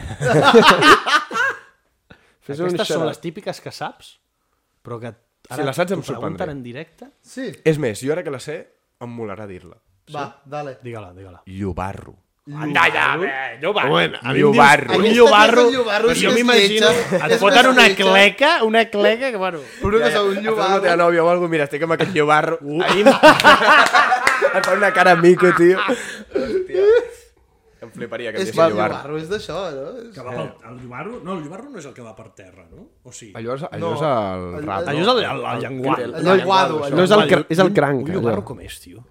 Fes un Aquestes són les xerrat. típiques que saps, però que ara Si les saps em t'ho pregunten sorprendré. en directe... Sí, És més, jo ara que la sé, em molarà dir-la. va, dale. Digue-la, digue-la. Llobarro. Anda ja, bé, jo va. Bueno, a mi em dius- Llobarro. Un Aquesta llobarro, és el llobarro, és jo més m'imagino, lletja, et és foten més una lletja. cleca, una cleca que, bueno... Però Eh, que sou un Estàs amb la teva llobarro. nòvia o alguna cosa, mira, este estic amb aquest llobarro. Uh. Ahir... em fa una cara a mico, tio. Hòstia. Em fliparia que És em diguessin que el llobarro. llobarro és d'això, no? És- va pel, el llobarro, no, el llobarro no és el que va per terra, no? O sí? Allò Allò, és, allò és el No. rap. és el, el, el llenguat. El llenguado, No és allò. el, cr- és el cranc. Un llobarro com és, tio?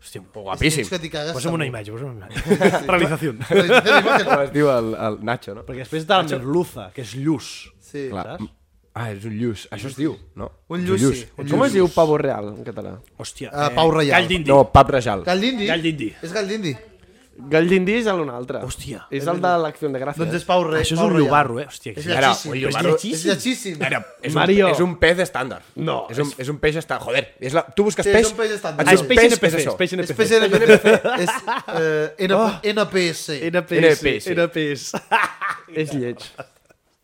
Hòstia, un poc És Guapíssim. que t'hi cagues. Posa'm una imatge, posa'm una imatge. Realització. Com es diu el, el Nacho, no? Perquè després de la merluza, que és lluç. Sí. Clar. Saps? Ah, és un lluç. Això es diu, no? Un És lluç, sí. Un Com es diu pavo real en català? Hòstia. Eh, Pau Reial. Gall d'indi. No, pap rajal. Gall d'indi? Gall d'indi. És gall d'indi. Gall d'indi és l'un altre. Hòstia. És el de l'acció de gràcies. Doncs és Pau Re. Això és Pau un Reial. llobarro, eh? Hòstia, És que- lletjíssim. Ara, És oi, llobarro- lletjíssim. És lletjíssim. Era, és, Mario. un, és un pez estàndard. No, És un, és un peix estàndard. Joder, és la... tu busques Sí, és peix... un peix estàndard. et diu Ah, és peix peix, NPC, és això. És peix NPC. PC NPC. És Ah. eh, N- NPC. NPS. NPS. NPS. És lleig.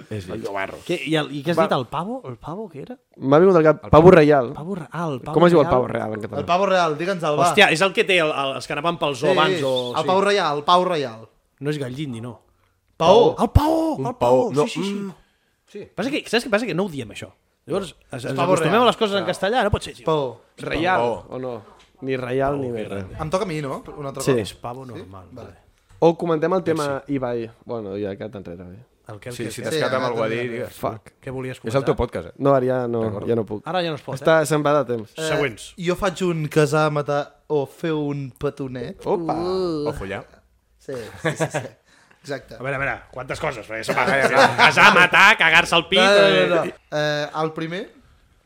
És Llobarro. Què, i, el, I què has dit, el pavo? El pavo, què era? M'ha vingut al cap Pavo Reial. Pavo, re- ah, el pavo Com es diu el real. Pavo Reial en El català? Pavo Real, digue'ns el va. Hòstia, és el que té el, el, els que anaven pel zoo abans. O, El Pau Reial, el Pau Reial. No és gallindi, no. Pau, El paó! El paó! no, Sí, sí, sí. mm. sí. Passa que, saps què passa? Que no ho diem, això. Llavors, ens, ens pavo acostumem real. a les coses en castellà, no pot ser. Sí. Pau. Reial, o no? Ni Reial ni res. Em toca a mi, no? Un altre Sí. cop. És pavo normal. Sí? Vale. O comentem el tema Ibai. Bueno, ja quedat enrere. bé. El que, el Sí, que, si què, t'has quedat amb ara algú a dir, t'entenem. digues. Fuck. què volies És comentar? el teu podcast, eh? No, ara ja no, ja no puc. Ara ja no es pot, Està, se'n va de temps. eh? Següents. Jo faig un casar, matar o fer un petonet. Oh. Opa! O follar. Sí, sí, sí. sí. Exacte. A veure, a veure, quantes coses? Perquè se m'agrada. ja. Casar, matar, cagar-se al pit... No, no, eh, no, no. Eh, el primer,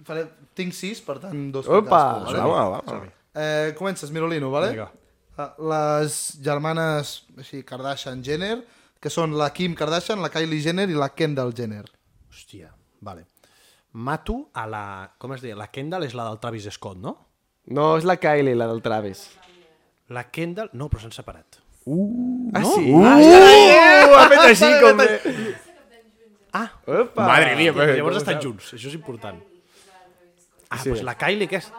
faré... tinc sis, per tant, dos per Opa! cadascú, Va, va, va. Eh, comences, Mirolino, vale? Vinga. Ah, Les germanes així, Kardashian-Jenner, que són la Kim Kardashian, la Kylie Jenner i la Kendall Jenner. Hòstia, vale. Mato a la... Com es deia? La Kendall és la del Travis Scott, no? No, és la Kylie, la del Travis. La Kendall... No, però s'han separat. Ah, sí? Uh! Uh, Ha fet així com... Ah, Opa! Madre mía, Però però... llavors estan junts, això és important. Ah, doncs pues la Kylie, que és...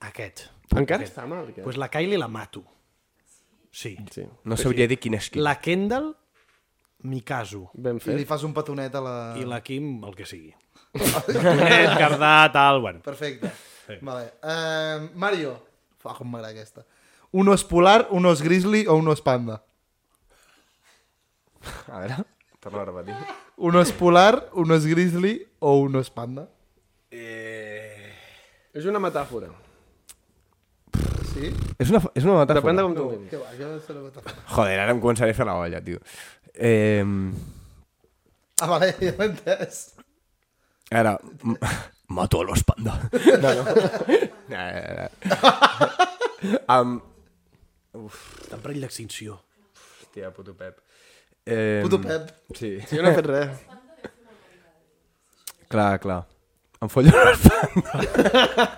Aquest. Encara està mal. Doncs Aquest. pues la Kylie la mato. Sí. Sí. No sabria dir quin és qui. La Kendall, m'hi caso. Ben I li fet. fas un petonet a la... I la Kim, el que sigui. Tonet, Cardà, tal, bueno. Perfecte. Vale. Eh, Mario. Fa com m'agrada aquesta. Un os polar, un os grizzly o un os panda? A veure, torna a repetir. Un os polar, un os grizzly o un os panda? És una metàfora. Sí? És una, és una metàfora. Depèn de com tu ho Que va, que va ser la metàfora. Joder, ara em començaré a fer la olla, tio. Eh, Ah, vale, ja m'he entès. ara, m- mato a los panda. No, no. no, no, no. Um, Està en perill d'extinció. hòstia, puto Pep. Eh, Puto Pep. Sí, Si jo no he fet res. clar, clar. Em follo los panda.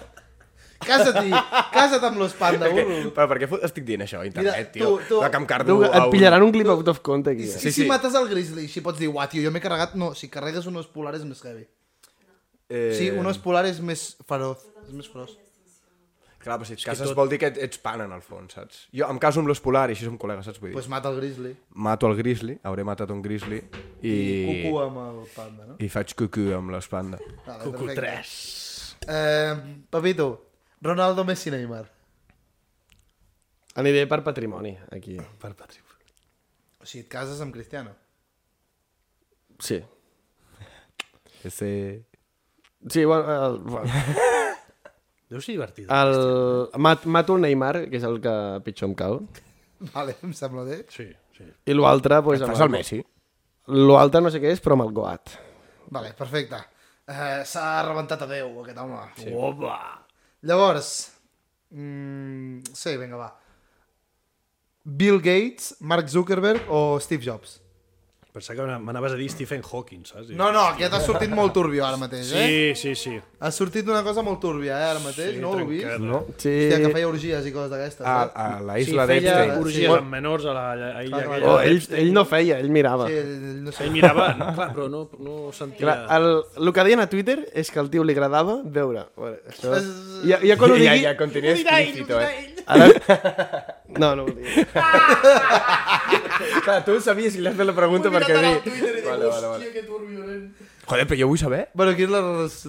Casa-t'hi! Casa't amb los panda, burro! Però per què fot- estic dient això a internet, Mira, tio? tu- tu- La que em cardo Tu, a et un- pillaran un clip out of context. I, Ja. sí, Sí, I si sí. mates el grizzly, així pots dir, uah, tio, jo m'he carregat... No, si carregues un os polar és més heavy. Eh, Sí, un os polar és més feroz. És més feroz. Clar, però si et cases tot... vol dir que et- ets pan en el fons, saps? Jo em caso amb l'os polar i així som col·legues, saps? Vull dir, Doncs pues mata el grizzly. mato el grizzly, hauré matat un grizzly i... Cucu amb el panda, no? I faig cucu amb l'espanda. Vale, Cucu perfecte. 3. Eh, Papito, Ronaldo, Messi, Neymar. Aniré per patrimoni, aquí. Per Patrick. O sigui, et cases amb Cristiano. Sí. Ese... Sí, bueno, el, bueno, Deu ser divertit. Ah. el, mat, mato el Neymar, que és el que pitjor em cau. Vale, em sembla bé. Sí, sí. I l'altre... Pues, Fas amb el Messi? L'altre no sé què és, però amb el Goat. Vale, perfecte. Eh, S'ha rebentat a Déu, aquest home. Sí. Opa! Llavors, mm, sí, vinga, va. Bill Gates, Mark Zuckerberg o Steve Jobs? Pensava que m'anaves a dir Stephen Hawking, saps? No, no, aquest ha sortit molt turbio ara mateix, eh? Sí, sí, sí. Ha sortit una cosa molt turbia, eh, ara mateix, sí, no ho heu vist? trencat. No? Sí. Hòstia, que feia orgies i coses d'aquestes. A, Ah, a la Sí, isla sí, feia d'Epstein. ur- orgies Sí. amb menors a la a clar. illa aquella. Oh, ell, ell no feia, ell mirava. eh? sí, Sí. ell Eh, no sé. Ell mirava, no, clar, però no, no sentia... Clar, ah. el, el que deien a Twitter és que al tio li agradava veure. Bueno, això... Es- ja, ja quan ho Ja, digui... ja, continua explícito, eh? Ara... No, no ho dic. Clar, tu sabies que li has fet la pregunta perquè dir... Vale, vale, vale. que turbulent. eh". Joder, però jo vull saber. Bueno, qui és la,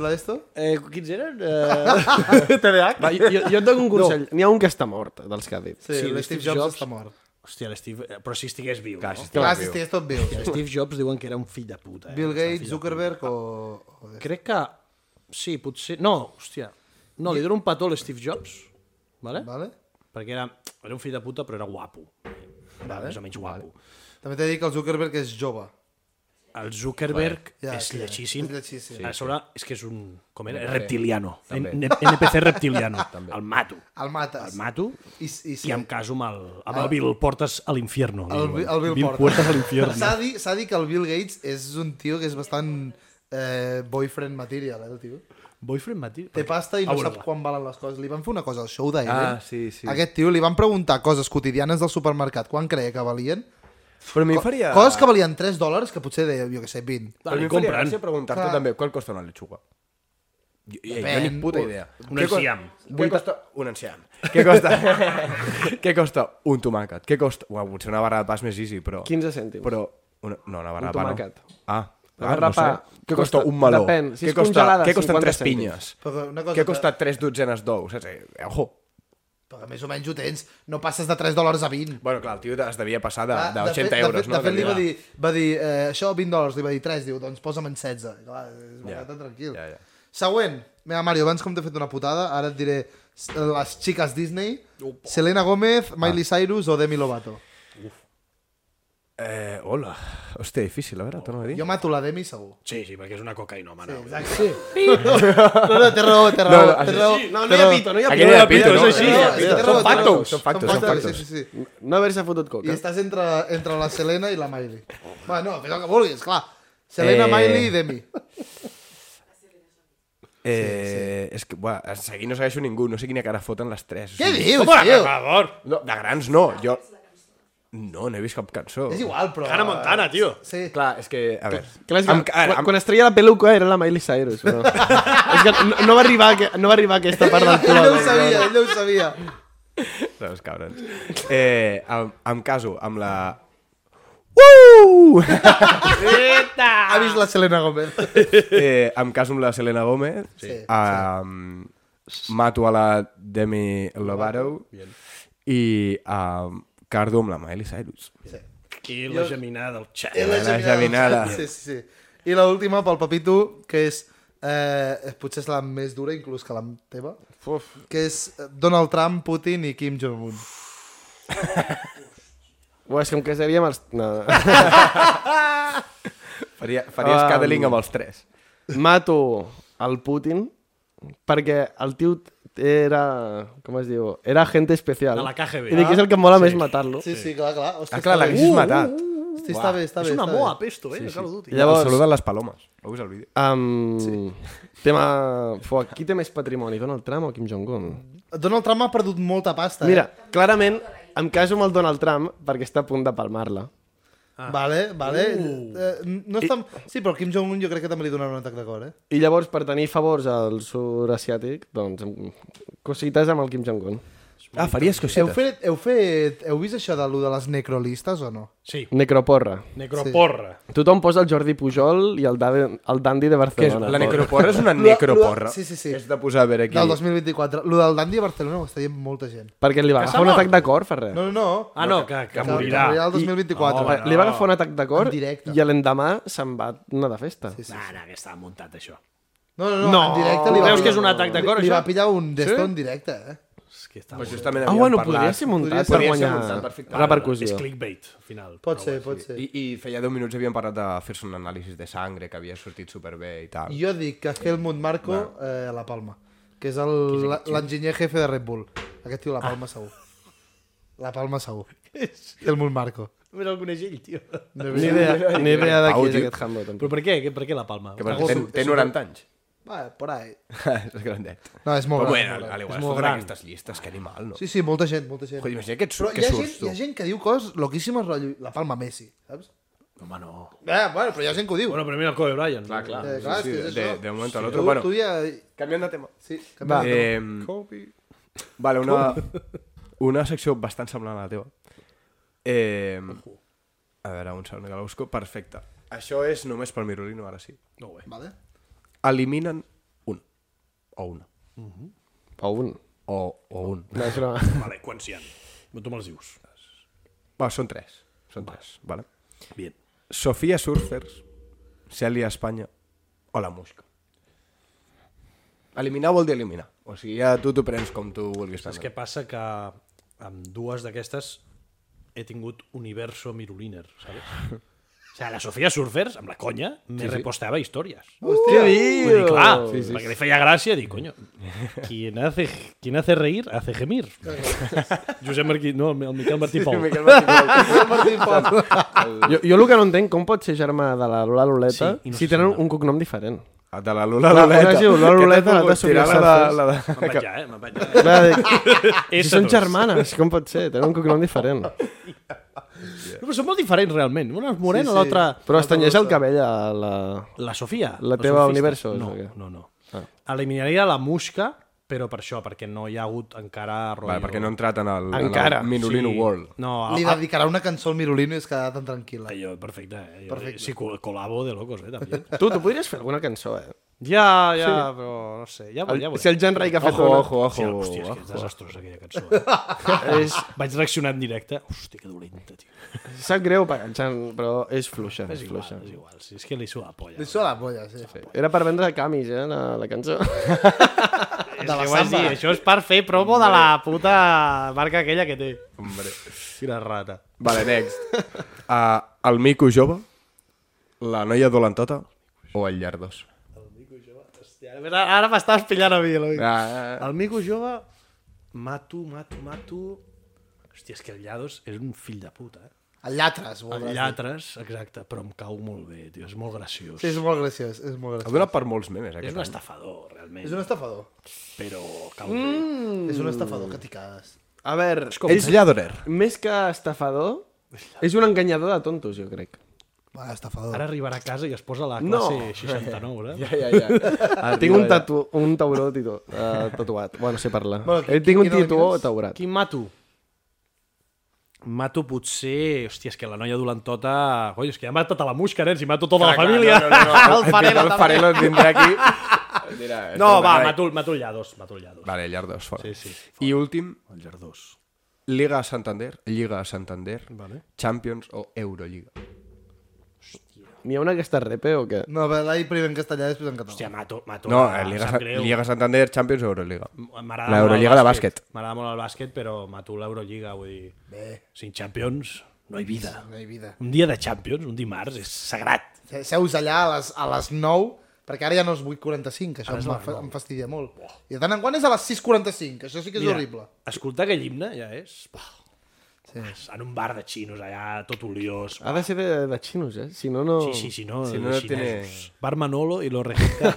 la d'esto? Eh, quins eren? Eh... TDAH? Va, jo, jo et dono un consell. N'hi ha un que està mort, dels que ha dit. Sí, sí l'Steve Steve Jobs, Jobs està mort. Ah, Hòstia, l'Steve... eh, Però si estigués viu, Clar, no? si Clar, estàs si viu. estigués tot viu. Steve Jobs diuen que era un fill de puta. Eh? Bill Gates, Està fill de- Zuckerberg o... o de- Crec que... Sí, potser... No, hòstia. No, li dono un petó a l'Steve Jobs, vale? Vale? perquè era, era un fill de puta, però era guapo. Era més o menys guapo. També t'he de dir que el Zuckerberg és jove. El Zuckerberg Ja, és sí, lletxíssim. és lletxíssim. Sí, A sobre, és que és un... Com era? Reptiliano. N- NPC reptiliano. El mato. El mates. El mato I, i, sí. i em caso amb el, amb el Bill Portes a l'infierno. li El, diuen. el Bill, Porter. Portes a l'infierno. S'ha de dir- s'ha de dir que el Bill Gates és un tio que és bastant eh, boyfriend material, eh, el tio. Boyfriend Mati? Té pasta i A no veure, sap quan valen les coses. Li van fer una cosa al show d'ahir. Ah, sí, sí. Aquest tio li van preguntar coses quotidianes del supermercat, quan creia que valien, Però a mi em faria... Coses que valien 3 dòlars, que potser de, jo que sé, 20. Però a mi Ah, li em faria compren. gràcia preguntar-te Clar. també quant costa una lechuga. Jo, jo, jo ni Depèn. puta idea. Un Què cos- enciam. Què costa un enciam? Què costa, què costa un tomàquet? Què costa... Uau, potser una barra de pa és més easy, però... 15 cèntims. Però... Una, no, una barra Un de pa tomàquet. no. Ah, La ah, barra no sé. de pa Què costa, costa- un meló? depèn, si què és costa, congelada, què costen 50 tres cèntims. pinyes? Però una cosa Què que- costa tres dotzenes d'ous? Saps? Eh, Ojo. Perquè més o menys ho tens, no passes de 3 dòlars a 20. Bueno, clar, el tio es devia passar de, Clar, de Ah, de 80 fet- Ah, de fet, euros, no? De fet, li va Devia- dir, va dir eh, això 20 dòlars, li va dir 3, diu, doncs posa'm en 16. Clar, es va Ja. quedar tranquil. Ja, ja. Següent. Mira, Mario, abans com t'he fet una putada, ara et diré s- les xiques Disney, Selena Gómez, Miley Cyrus o Demi Lovato. Eh, hola. Hòstia, difícil, a veure, torna a dir. Jo mato la Demi segur. Sí, sí, perquè és una cocaïnòmana. Sí, Exacte. No, no, té raó, té raó, té raó. No, no hi ha pito, no hi ha Aquí no pito. hi ha no hi pito, no? és així. No, és que té raó, Són té raó. factos, són factos, són factos, factos. Sí, sí, sí. No haver-se fotut I coca. estàs entre, entre la Selena i la Miley. Va, no, fes el que vulguis, clar. Selena, Eh. eh... Miley i Demi. Eh, és que, buah, a seguir no segueixo ningú, no sé quina cara foten les tres. o Què sigui, dius, Home, tio? per favor. No, de grans no, jo... No, no he vist cap cançó. És igual, però... eh, Hannah Montana, tio. Sí. Clar, és que, a veure... Clar, és que, Em- a veure, quan, em- quan es treia la peluca era la Miley Cyrus, però... és que no, no, va arribar, a que- no va arribar a aquesta part del Ell plot. no ho sabia, ell no ho sabia. Saps, cabrons. Eh, em, em caso amb la... Uh! Ha vist la Selena Gomez. eh, em caso amb la Selena Gomez. Sí, Um, Mato a la Demi Lovato. I um, cardo amb la Miley Cyrus. I la geminada del xat. I la la geminada. Sí, sí, sí. I l'última pel Papito, que és... Eh, potser és la més dura, inclús que la teva, Uf, que és eh, Donald Trump, Putin i Kim Jong-un. Ué, és que em casaria amb els... No. Faria, faria Um, scadeling amb els tres. Mato el Putin perquè el tio era... Com es diu? Era agent especial. De la KGB. I dic, és el que em mola sí. més matar-lo. Sí, sí, clar, clar. Hòstia, Ah, clar, està bé. Uh, l'haguessis matat. Sí, està bé, està És bé. una està bé. moa, pesto, eh? Sí, sí. I Llavors... Llavors- uh, El saludo de les palomes. Heu vist el vídeo? Um, sí. Tema... Fua, qui té més patrimoni, Donald Trump o Kim Jong-un? Donald Trump ha perdut molta pasta. eh? Mira, clarament em caso amb el Donald Trump perquè està a punt de palmar-la. Vale, vale. Eh, no està... Sí, però Kim Jong-un jo crec que també li donarà un atac de cor, eh? I llavors, per tenir favors al sud asiàtic, doncs, em- cosites amb el Kim Jong-un. Ah, faries Heu cosites. fet, heu fet... Heu vist això de lo de les necrolistes o no? Sí. Necroporra. Necroporra. Tothom posa el Jordi Pujol i el, Dave, el Dandy de Què és? Barcelona. La necroporra és una Lo- lo- necroporra. sí, sí, sí. És de posar a veure aquí. Del 2024. Lo del Dandy a Barcelona ho està dient molta gent. Perquè li va Que s'ha agafar un mort. atac de cor, fa res. No, no, no. Ah, no, que, que, morirà. Que morirà el 2024. I- Li va agafar un atac de cor En directe. i l'endemà se'n va anar de festa. Sí, sí, No, sí. no, que estava muntat, això. No, no, no, no, en directe li va Creus pillar- que és un atac de cor, Li, li va això? pillar un desto en directe, eh? És que està Però molt- justament Ah, havíem bueno, parlat... podria ser muntat Podria per ser guanyar muntat perfectament. És repercussió. clickbait, al final. Pot Però ser, bueno. pot ser. I, I feia 10 minuts havíem parlat de fer-se un anàlisi de sangre que havia sortit superbé i tal. Jo dic que Helmut Marco eh, a La Palma, que és el- la- l'enginyer jefe de Red Bull. Aquest tio a La Palma segur. La Palma segur. Helmut Marco. Mira el coneix ell, tio. Però Ni idea, ni idea de Pau, qui és tio. aquest Hamilton. per què? Que- Per què la palma? Que perquè Algú té, su- té 90 anys. Va, por ahí. és grandet. No, és molt Però gran, bueno, molt gran. a l'igual És es molt foten gran. aquestes llistes, que animal, no? Sí, sí, molta gent, molta gent. Joder, imagina que, et Però sur, hi que ha, gent, surts hi tu. ha gent que diu coses loquíssimes, rotllo, la palma Messi, saps? Home, no. Eh, bueno, però hi ha gent que ho diu. Bueno, però mira el Kobe Bryant. Clar, clar. eh, clar, sí, és que és de- això. de un moment a Sí, l'altre, tu- bueno. Tu ja... Canviant de tema. Sí, que Va. Eh, vale, una, una secció bastant semblant a la teva. Eh, a veure, un segon que la busco. Perfecte. Això és només pel Mirolino, ara sí. No ho és. Vale. Eliminen un. O una. O un. O, o un. No, és una... Vale, quants hi ha? Però Tu me'ls dius. Va, són tres. Són tres, vale. Bien. Sofia Surfers, Cèlia Espanya o la Musca. Eliminar vol dir eliminar. O sigui, ja tu t'ho prens com tu vulguis. Saps què passa? Que amb dues d'aquestes he tingut universo miruliner, saps? O sigui, la Sofia Surfers, amb la conya, me sí, sí. repostava històries. Hòstia, Vull dir, clar, sí, sí. "Ah, perquè li feia gràcia, dic, coño, quien hace, quien hace reír, hace gemir. Josep Martí, no, el Miquel Martí Pou. Sí, Martín Pol. Jo, jo el que no entenc, com pot ser germà de la Lola Loleta Sí, i no si se tenen senten. un cognom diferent? Ah, De la Lola Va, Loleta. una diu, Lola Què t'ha Loleta, l'altra pogut tirar, la Sofia de- Safes. la de- Me'n vaig ja, eh? Me'n vaig ja. Clar, dic, si Ésseros. són germanes, com pot ser? Tenen un cognom diferent. No, però són molt diferents, realment. Una és Sí, morena, sí, sí. sí. l'altra... Però es tenyeix el cabell a la... La Sofia. La o teva surfista? Universo, és No, o què? no, no. Ah. Eliminaria la Musca, però per això, perquè no hi ha hagut encara... Rotllo... Vale, perquè no he entrat en el, Encara. en el Minolino World. No, ah, Li a, dedicarà una cançó al Mirolino i es quedarà tan tranquil·la. Yo, perfecta. eh? Yo, Sí, col- colabo de locos, eh, también. Tu, tu podries fer alguna cançó, eh? ya, ya, pero no sé. Ya voy, El, ya voy. si el Jan Ray que ha fet Ojo, una- ojo, Hòstia, ojo. hòstia, és que és desastrosa aquella cançó. Eh? És, Vaig reaccionar en directe. Hòstia, que dolenta, tio. sap greu, per el Jan, però és fluixa. És Igual, fluixa. és igual. Sí, és que li sua la polla. eh. Li sona la polla, sí. Era per vendre camis, eh, la, la cançó. de la samba. Dir, això és per fer promo de la puta marca aquella que té. Hombre. Quina rata. Vale, next. Uh, el mico jove, la noia dolentota o el llardos? Hòstia, ara ara m'estàs pillant a mi, Eloi. Ah. Ah, El mico jove, mato, mato, mato... Hòstia, és que el Llados és un fill de puta, eh? El Llatres, vol El dir. Llatres, exacte, però em cau molt bé, tio, és molt graciós. Sí, és molt graciós, és molt ha graciós. donat per molts memes, eh, És aquest. un any. estafador, realment, És un estafador. però cau mm. És un estafador que t'hi cagues. A veure, com- ells, Ells lladorer. més que estafador, és un enganyador de tontos, jo crec. Va, estafador. Ara arribarà a casa i es posa la No. classe 69, eh? Ja, ja. Ah, tinc un, tatu un tauró tito, uh, tatuat. Bueno, sé parlar. Bueno, Bueno, qui- eh, tinc un quina tituó elimines? taurat. Quin mato? Mato potser... Hòstia, és que la noia dolentota... Coi, és que ja m'ha matat a la musca, nen, si mato tota la família. No, no, no, no. eh. el faré, El Farelo vindrà aquí. Dirà, No, escolta, va, noi. mato, mato el Llados, mato el Llados. Vale, llardos, fora. Sí, sí. I últim, El Llardós. Liga Santander, Lliga Santander, Vale. Champions o Euroliga. N'hi ha una que està repe o què? No, però l'ahir primer en castellà i després en català. Hòstia, mato, mato... No, la- eh, Liga, em Sa- sap greu. Liga Santander, Champions o Euroliga. M'agrada La molt el Euroliga de bàsquet. M'agrada molt el bàsquet, però mato l'Eurolliga, vull dir... Bé. Sin Champions no hi vida. No hi ha vida. Un dia de Champions, un dimarts, és sagrat. Se- Seus allà a les, a les 9, perquè ara ja no és 8.45, que això em, fa, em fastidia molt. I de tant en quant és a les 6.45, això sí que és horrible. Escoltar aquell himne ja és... Sí. En un bar de xinos allà, tot oliós. Ha de ser de, de xinos, eh? Si no, no... Sí, sí, sí, no, Oh, Si si no, no, no los chinesos. Bar Manolo i los Regita.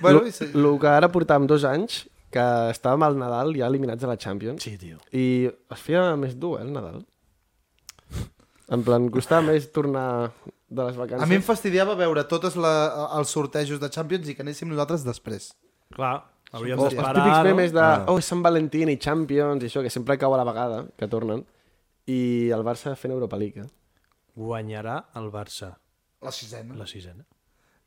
Bueno, i se- El que ara portàvem dos anys, que estàvem al Nadal ja eliminats de la Champions, Sí, tio. i es feia més dur, eh, el Nadal. En plan, costava més tornar de les vacances. a mi em fastidiava veure tots els sortejos de Champions i que anéssim nosaltres després. Clar, hauríem Suposo. Els d'esperar... típics no? memes de oh, és Sant Valentín i Champions i això, que sempre cau a la vegada, que tornen. I el Barça fent Europa League. Eh? Guanyarà el Barça La sisena? la sisena.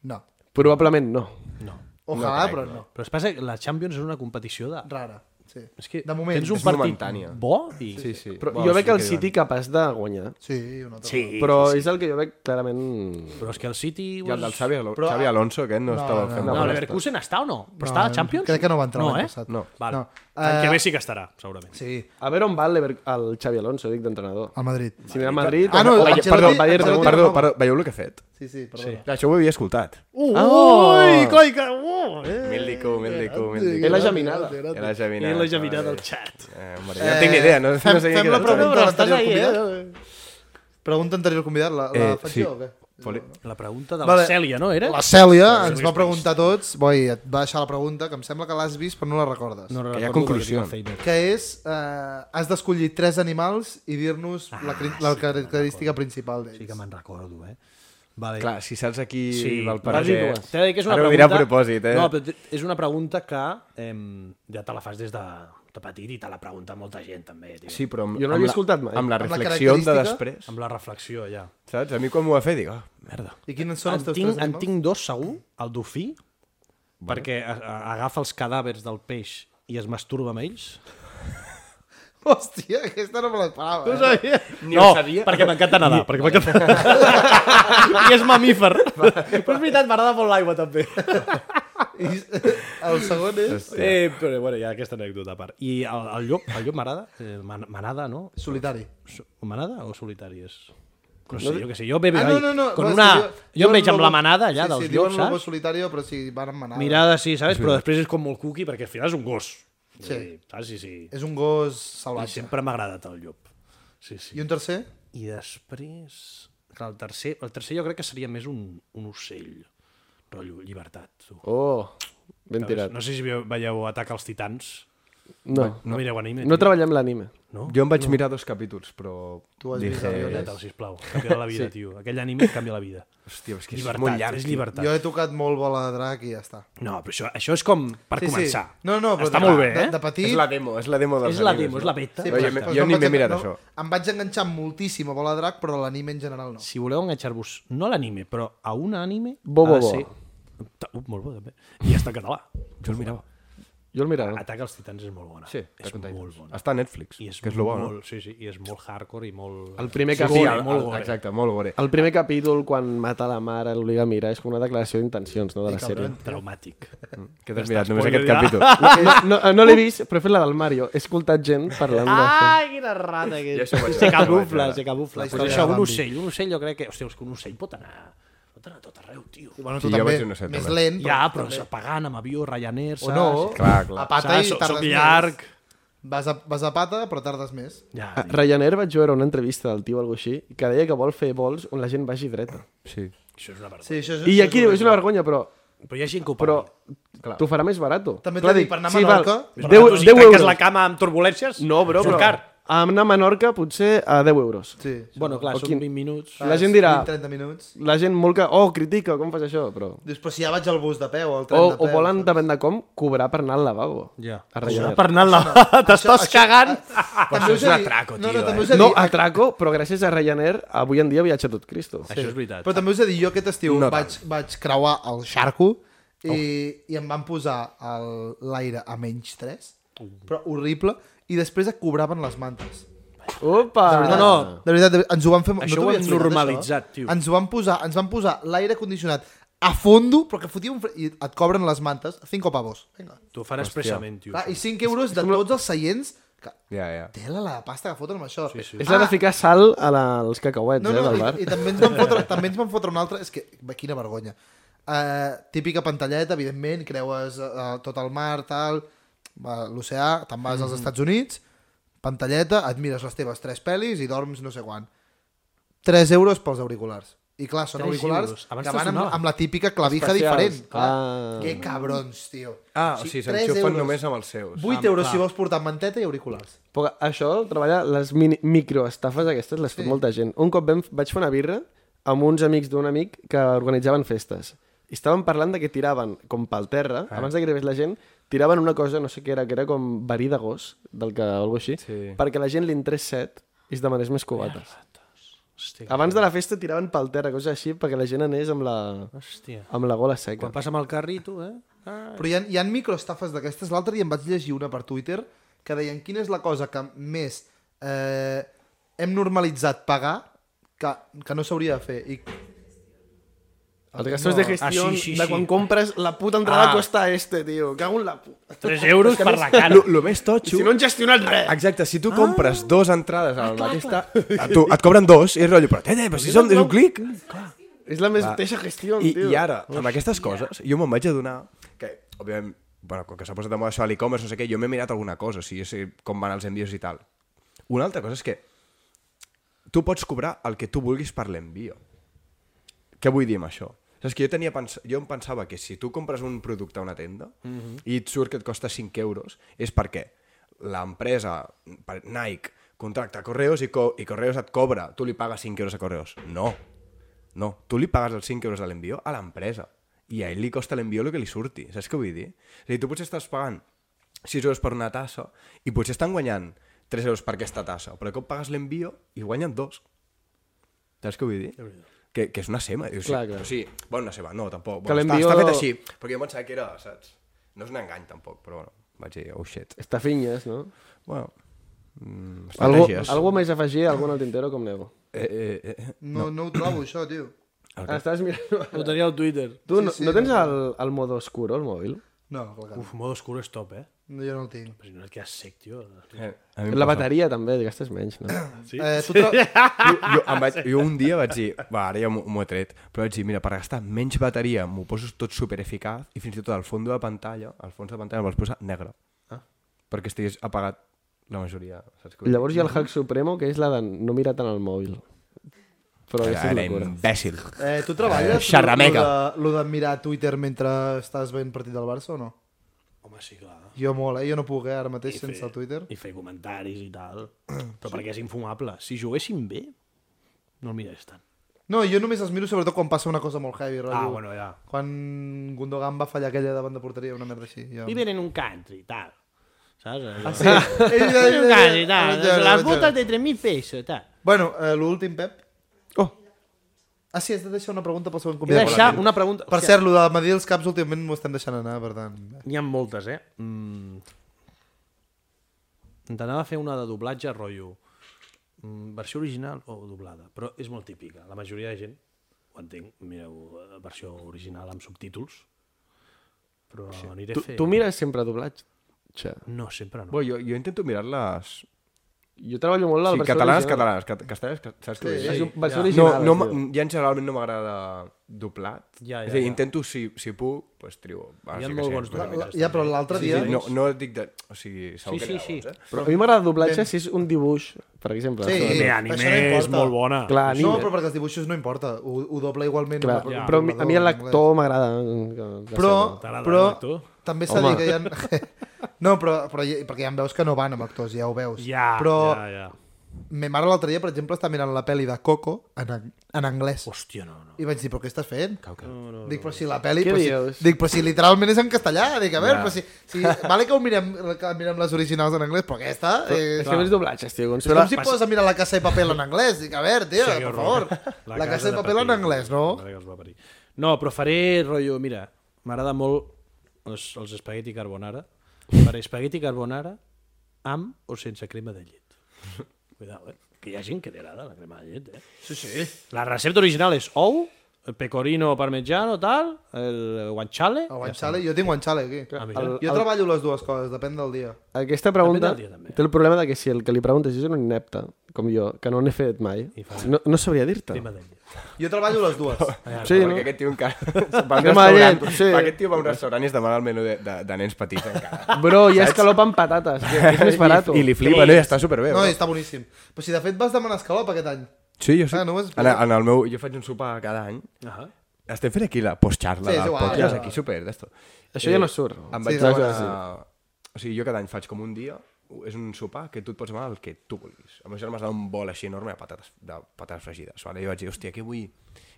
No. Probablement no. No. Ojalà, però no. Però es passa que la Champions és una competició de... Rara. Sí. És que de moment. tens un És partit momentània. bo i... Sí, sí. Però Bueno, jo sí veig que el diuen. City capaç de guanyar. Sí, un altre. sí. Però és el que jo veig clarament... Però és que el City... I el del Xavi, Alo Però- Xavi Alonso, aquest no, estava fent No, Ah, mal. l'Everkusen està o no? Però està a la Champions? Crec que no va entrar no, l'any eh? passat. No. Val. No. Ah, eh, No. El que ve sí que estarà, segurament. Sí, A veure on va el, Lever- el Xavi Alonso, dic d'entrenador. al Madrid. Si anirà a Madrid... Ah, no, o- o- Ancelotti- perdó, Bayern de Ancelotti- Perdó, Múnich. perdó, perdó, veieu el que ha fet? Sí, sí, perdona. Clar, Això ho havia escoltat. Uh, oh! Ui, coi, que... Uh, eh. Mil dico, mil dico, mil És dico. la geminada. Era I Javinada. la geminada del xat. Eh, hombre, jo no tinc ni idea, no, fem- no sé fem què la era. pregunta. Però estàs l'anterior ahí, eh? convidat? Pregunta anterior convidat, la, la Eh, faig sí. jo o què? Poli... La pregunta de la Vale. vale. Cèlia, no era? La Cèlia ens sí, va sí. preguntar a tots, boi, et va deixar la pregunta, que em sembla que l'has vist però no la recordes. No Que hi ha recordo conclusió. la feina. Que és, eh, has d'escollir tres animals i dir-nos Ah, la, cri- la característica principal d'ells. Sí que me'n recordo, eh? Vale. Clar, si saps aquí sí, val per vas dir què. dues. T'he de dir que és una Ara ho dirà pregunta... a propòsit, eh? No, però és una pregunta que eh, ja te la fas des de, de petit i te la pregunta molta gent, també, tio. Sí, però amb, Jo no amb l'havia la- escoltat mai. Amb la Amb la reflexió de característica- després, Amb la reflexió, ja. saps? A mi quan m'ho va fer, dic, ah, merda. I quins són els en teus tinc, tres en animals? tinc dos, segur. El dofí, perquè a, a, agafa els cadàvers del peix i es masturba amb ells. Hòstia, aquesta no me l'esperava. Eh? sabia? no, perquè m'encanta nedar. Perquè m'encanta... I és mamífer. però és veritat, m'agrada molt l'aigua, també. I, el segon és... Eh, però bueno, hi ha aquesta anècdota a part. I el, el llop, el llop m'agrada, eh, man- manada, no? Solitari. So- Manada o solitari és? No sé, jo què sé, jo bebe Ah, no, no, no. con no, és una... que Jo, jo em veig amb lobo- la manada allà sí, dels sí, llops, Sí, diuen saps? solitari, però sí, van amb manada. Mirada, sí, saps? Però després és com molt cuqui perquè al final és un gos. Vull Sí. dir, Saps? Sí, sí. És un gos I salvatge. sempre m'ha agradat el llop. Sí, sí. I un tercer? I després... Clar, el tercer, el tercer jo crec que seria més un, un ocell. rotllo, llibertat. Tu. Oh, ben Saps? tirat. No sé si veieu- veieu Atac als Titans. No, No, mireu anime. no tio. treballem l'anime. no? Jo Eh, em vaig mirar dos capítols, però... Tu has dije, vist Avionet? Oriental, sisplau. Canvia la vida, sí. tio. Aquell anime et canvia la vida. Hòstia, és que és llibertat, molt llarg. és tio. llibertat. Jo he tocat molt bola de drac i ja està. No, però això, això és com per sí, començar. Sí. No, no, però Està de- molt bé, eh? De, de petit... És la demo, és la demo dels És la animes, demo, no? és la beta. però jo exacte. m'he- Però jo no ni em m'he vaig- mirat no, això. Em vaig enganxar moltíssim a Bola de Drac, però a l'anime en general no. Si voleu enganxar-vos, no a l'anime, però a un anime... Bo, bo, ha de bo. ser- Ta- Uh, molt bo, també. I està en català. Jo el mirava. Jo el miraré. Atac als Titans és molt bona. Sí, és Attack on Titan. molt bona. Està a Netflix, I és, que és lo bo, no? molt, sí, sí, I és molt hardcore i molt... El primer Sí, capítol, gore, el- molt el- gore. Exacte, molt gore. El primer capítol, quan mata la mare, l'obliga a mirar, és com una declaració d'intencions, no?, de la sèrie. Traumàtic. Que t'has mirat només spoiler aquest ja. capítol. No, no, no l'he vist, però he fet la del Mario. He escoltat gent parlant d'això. quina rata que Jo això ho vaig Se veure, ho vaig cabufla, veure. se cabufla. La Pues història això, de un Bambi. ocell, un ocell jo crec que... Hòstia, és que un ocell pot anar... Pot anar a tot arreu, tio. Bueno, Sí, tu jo també, vaig ser innocent, més també. lent. Ja, però és pagant amb avió, Ryanair, O saps? no, Clar, clar. a pata Saps? i Soc- tardes soc llarg. més. Vas a, vas a pata, però tardes més. Ja, A Ah, Ryanair vaig veure una entrevista del tio o alguna així que deia que vol fer vols on la gent vagi dreta. Sí. això és una vergonya. Sí, això és, I això aquí és diu, és una vergonya, però, Però hi ha gent que ho però paga. Clar. t'ho farà més barat. També t'ho dic, per anar a Menorca, Però... 10, 10 euros. la cama amb turbulències... No, bro, surt però Car. a anar a Menorca potser a 10 euros. Sí. Ah, Bueno, clar, O són quin- 20 minuts. La gent dirà, 30 minuts. la gent molt que, oh, critica, com fas això, però... Dius, però si ja vaig al bus de peu, al O, tren de peu. o volen, depèn de com, cobrar per anar al lavabo. Ja. A Ryanair. Per anar la... T'estàs cagant? També Això us és he un dit- atraco, no, tio, no, també eh? us he No, dit- atraco, però gràcies a Ryanair avui en dia viatja tot Cristo. Això és veritat. Però també us he dit, jo aquest estiu No no, vaig, vaig creuar el Xarco i, Oh. i em van posar el- l'aire a menys 3, Uh. però horrible, i després et cobraven les mantes. Opa! No, no, De veritat, de veritat, ens ho van fer... Això t'ho ho havia hem explicat, normalitzat, això? tio. Ens, ho van posar, ens van posar l'aire condicionat a fondo, però que fotia un... fre- I et cobren les mantes, 5 pavos. Vinga. T'ho fan expressament, tio. Clar, I 5 euros de tots els seients... Que... Ja, ja. Tela la pasta que foten amb això. Sí, És la de ficar sal a la, als cacahuets, No, eh, no, del bar. i, i també ens van fotre, també ens van fotre una altra... És que, va, quina vergonya. Uh, típica pantalleta, evidentment, creues uh, tot el mar, tal, va, l'oceà, te'n vas als Estats Units, pantalleta, et mires les teves tres pel·lis i dorms no sé quan. 3 euros pels auriculars. I clar, són Tres auriculars euros. Abans que van amb, sonava. amb la típica clavija Especials. diferent. Clar. Ah. Que cabrons, tio. Ah, o sigui, tres s'enxufen euros. només amb Ah, els seus. 8 euros si vols portar manteta i auriculars. Però això, treballar les mini, microestafes aquestes les fa molta gent. Un cop vam, vaig fer una birra amb uns amics d'un amic que organitzaven festes. I estaven parlant de que tiraven, com pel terra, ah. abans de que arribés la gent, tiraven una cosa, no sé què era, que era com verí de gos, del que, o alguna així, Sí. perquè la gent li entrés set i es demanés més cubates. Hòstia, Abans de la festa tiraven pel terra, coses així, perquè la gent anés amb la, hòstia. amb la gola seca. Quan passa amb el carrito, eh? Però hi ha, hi ha microestafes d'aquestes. L'altre dia em vaig llegir una per Twitter que deien quina és la cosa que més eh, hem normalitzat pagar que, que no s'hauria de fer. I Els gastos no. de gestió Ah, ah, sí, sí, sí, sí, de sí. quan compres la puta entrada Ah. ah. costa este, tio. Cago en la puta. 3 euros per la cara. Lo, lo més totxo... Si no han gestionat res. Exacte, si tu Ah. compres dos entrades a la mateixa... A tu, et cobren dos, i és rotllo, però, tete, però si són, és un clic. És la mateixa gestió, I, tio. I ara, amb aquestes coses, jo me'n vaig adonar que, òbviament, bueno, com que s'ha posat de moda això a l'e-commerce, no sé què, jo m'he mirat alguna cosa, o sigui, jo sé com van els envios i tal. Una altra cosa és que tu pots cobrar el que tu vulguis per l'envio. Què vull dir amb això? Saps que jo, tenia pens... jo em pensava que si tu compres un producte a una tenda mm -hmm. i et surt que et costa 5 euros, és perquè l'empresa, per- Nike, contracta Correos i, co i Correos et cobra, tu li pagues 5 euros a Correos. No, no, tu li pagues els 5 euros de l'envio a l'empresa i a ell li costa l'envio el que li surti, saps què vull dir? És a dir, tu potser estàs pagant 6 euros per una tassa i potser estan guanyant 3 euros per aquesta tassa, però com pagues l'envio i guanyen 2. Saps què vull dir? Que, que és una sema. O sigui, Clar, clar. O sigui, bueno, una sema, no, tampoc. Que Bueno, està, l'envio- està fet així, perquè jo em pensava que era, saps? No és un engany, tampoc, però bueno, vaig dir, oh shit. Estafinyes, no? Bueno, mm, Algú, estratègies. algú més a afegir, algun al tintero com neu. Eh, eh, eh, eh. no, no. no ho trobo, això, tio. Ah, estàs mirant... Ho tenia al Twitter. Tu no, no tens el, el modo oscuro, al mòbil? No, clar que no. Uf, modo oscuro és top, eh? no, jo no el tinc. Però si no et quedes sec, tio. Eh, a mi em La passa. bateria també, gastes menys, no? Sí? Eh, tu tro... jo, jo, em vaig, jo un dia vaig dir, va, ara ja m'ho m'ho he tret, però vaig dir, mira, per gastar menys bateria m'ho poso tot super eficaç i fins i tot al fons de pantalla, al fons de pantalla me'ls posa negre. Ah. Perquè estigués apagat la majoria. Saps què vull dir? Llavors hi ha el hack supremo, que és la de no mirar tant el mòbil. però això és Era locura. imbècil. Eh, tu treballes Eh, xerrameca. lo- lo de, lo de mirar Twitter mentre estàs veient partit del Barça o no? Home, sí, clar. Jo molt, eh? Jo no puc, eh? Ara mateix, sense fer- el Twitter. I fer comentaris i tal. Però perquè és infumable. Si juguéssim bé, no el mires tant. No, jo només els miro sobretot quan passa una cosa molt heavy, rotllo. Ah, bueno, ja. Quan Gundogan va fallar aquella davant de porteria, una merda així. Jo... Viven en un country i tal. Saps? Ah, Sí. Ell- ell- En ell- un country i ell- tal. ell- ell- Les ell- botes de 3.000 pesos i tal. Bueno, eh, l'últim, Pep. Oh, Ah, sí, has de deixar una pregunta pel següent he de convidat. deixar una pregunta. Per cert, lo de medir els caps últimament m'ho estem deixant anar, per tant. N'hi ha moltes, eh? Mm. Intenava fer una de doblatge, rotllo. Mm, versió original o doblada, però és molt típica. La majoria de gent, ho entenc, mireu eh, versió original amb subtítols, però aniré tu, a fer... tu mires sempre doblatge. No, sempre no. Bueno, jo, jo intento mirar-les... Jo treballo molt la Sí, versió catalanes, original. catalanes, cat- castellanes, ca- saps què vull dir? És un- versió No, original. no, tio. m- ja en generalment no m'agrada doblat. Ja, ja, és a dir, ja. intento, si, si puc, pues, trio. Va, Hi ha sí que molt sé, bons La, però- la, ja, però l'altre Sí, dia... sí, no, no dic de... O sigui, segur Sí, que sí, n'hi ha sí. bons, eh? Però a mi m'agrada doblatge si és un dibuix, per exemple. Sí. Bé, això anime no importa. és molt bona. Clar, no, anime. però perquè els dibuixos no importa. Ho, ho dobla igualment. Clar, un- un però a mi- a mi doblador en l'actor m'agrada. eh, que- Però, T'agrada però l'actor? també s'ha de dir que hi ha... No, però, però hi- perquè ja em veus que no van amb actors, ja ho veus. Ja, però ja, ja. me mare l'altre dia, per exemple, està mirant la pel·li de Coco en, ang- en anglès. Hòstia, no, no. I vaig dir, però què estàs fent? No, no. Dic, però si la pel·li... Què Però dius? si, dic, però si literalment és en castellà. Dic, a veure, però si... si vale que ho mirem, que mirem les originals en anglès, però aquesta... Eh, És que veus doblatges, tio. és com si poses a mirar la casa de paper en anglès. Dic, a veure, tio, Sí, per favor. La, casa de paper en anglès, no? No, però faré rotllo, mira, m'agrada molt els, els espagueti carbonara. Faré espagueti carbonara amb o sense crema de llet. Cuidao, eh? Que hi ha gent que li agrada la crema de llet, eh? Sí, sí. La recepta original és ou, el pecorino parmigiano, tal, el guanciale... El guanxale, jo tinc guanxale aquí. Ah, mira. Jo treballo les dues coses, depèn del dia. Aquesta pregunta També del dia, també. té el problema de que si el que li preguntes és un inepte, com jo, que no n'he fet mai, no, no sabria dir-te. Crema de llet. Jo treballo les dues. Sí, no? Perquè aquest tio encara... Va a un Crema de llet, restaurant- sí. Aquest tio va a un restaurant i es demana el menú de, de, de nens petits encara. Bro, hi ha escalop amb patates, tio, que és més barat. I li flipa, no? I està superbé. No, bro. i està boníssim. Però si de fet vas demanar escalop aquest any. Sí, jo sí. Ah, no ho has en, en el meu, jo faig un sopar cada any. Ajà. Estem fent aquí la postxarla Sí, sí, és del igual, és podcast, igual. aquí super, d'esto. Això ja no surt. Em vaig Sí, sí, saps demanar... O sigui, jo cada any faig com un dia, és un sopar que tu et pots demanar el que tu vulguis. El meu germà es dona un bol així enorme de patates, de patates fregides. Vale? I jo vaig dir, hòstia, què vull...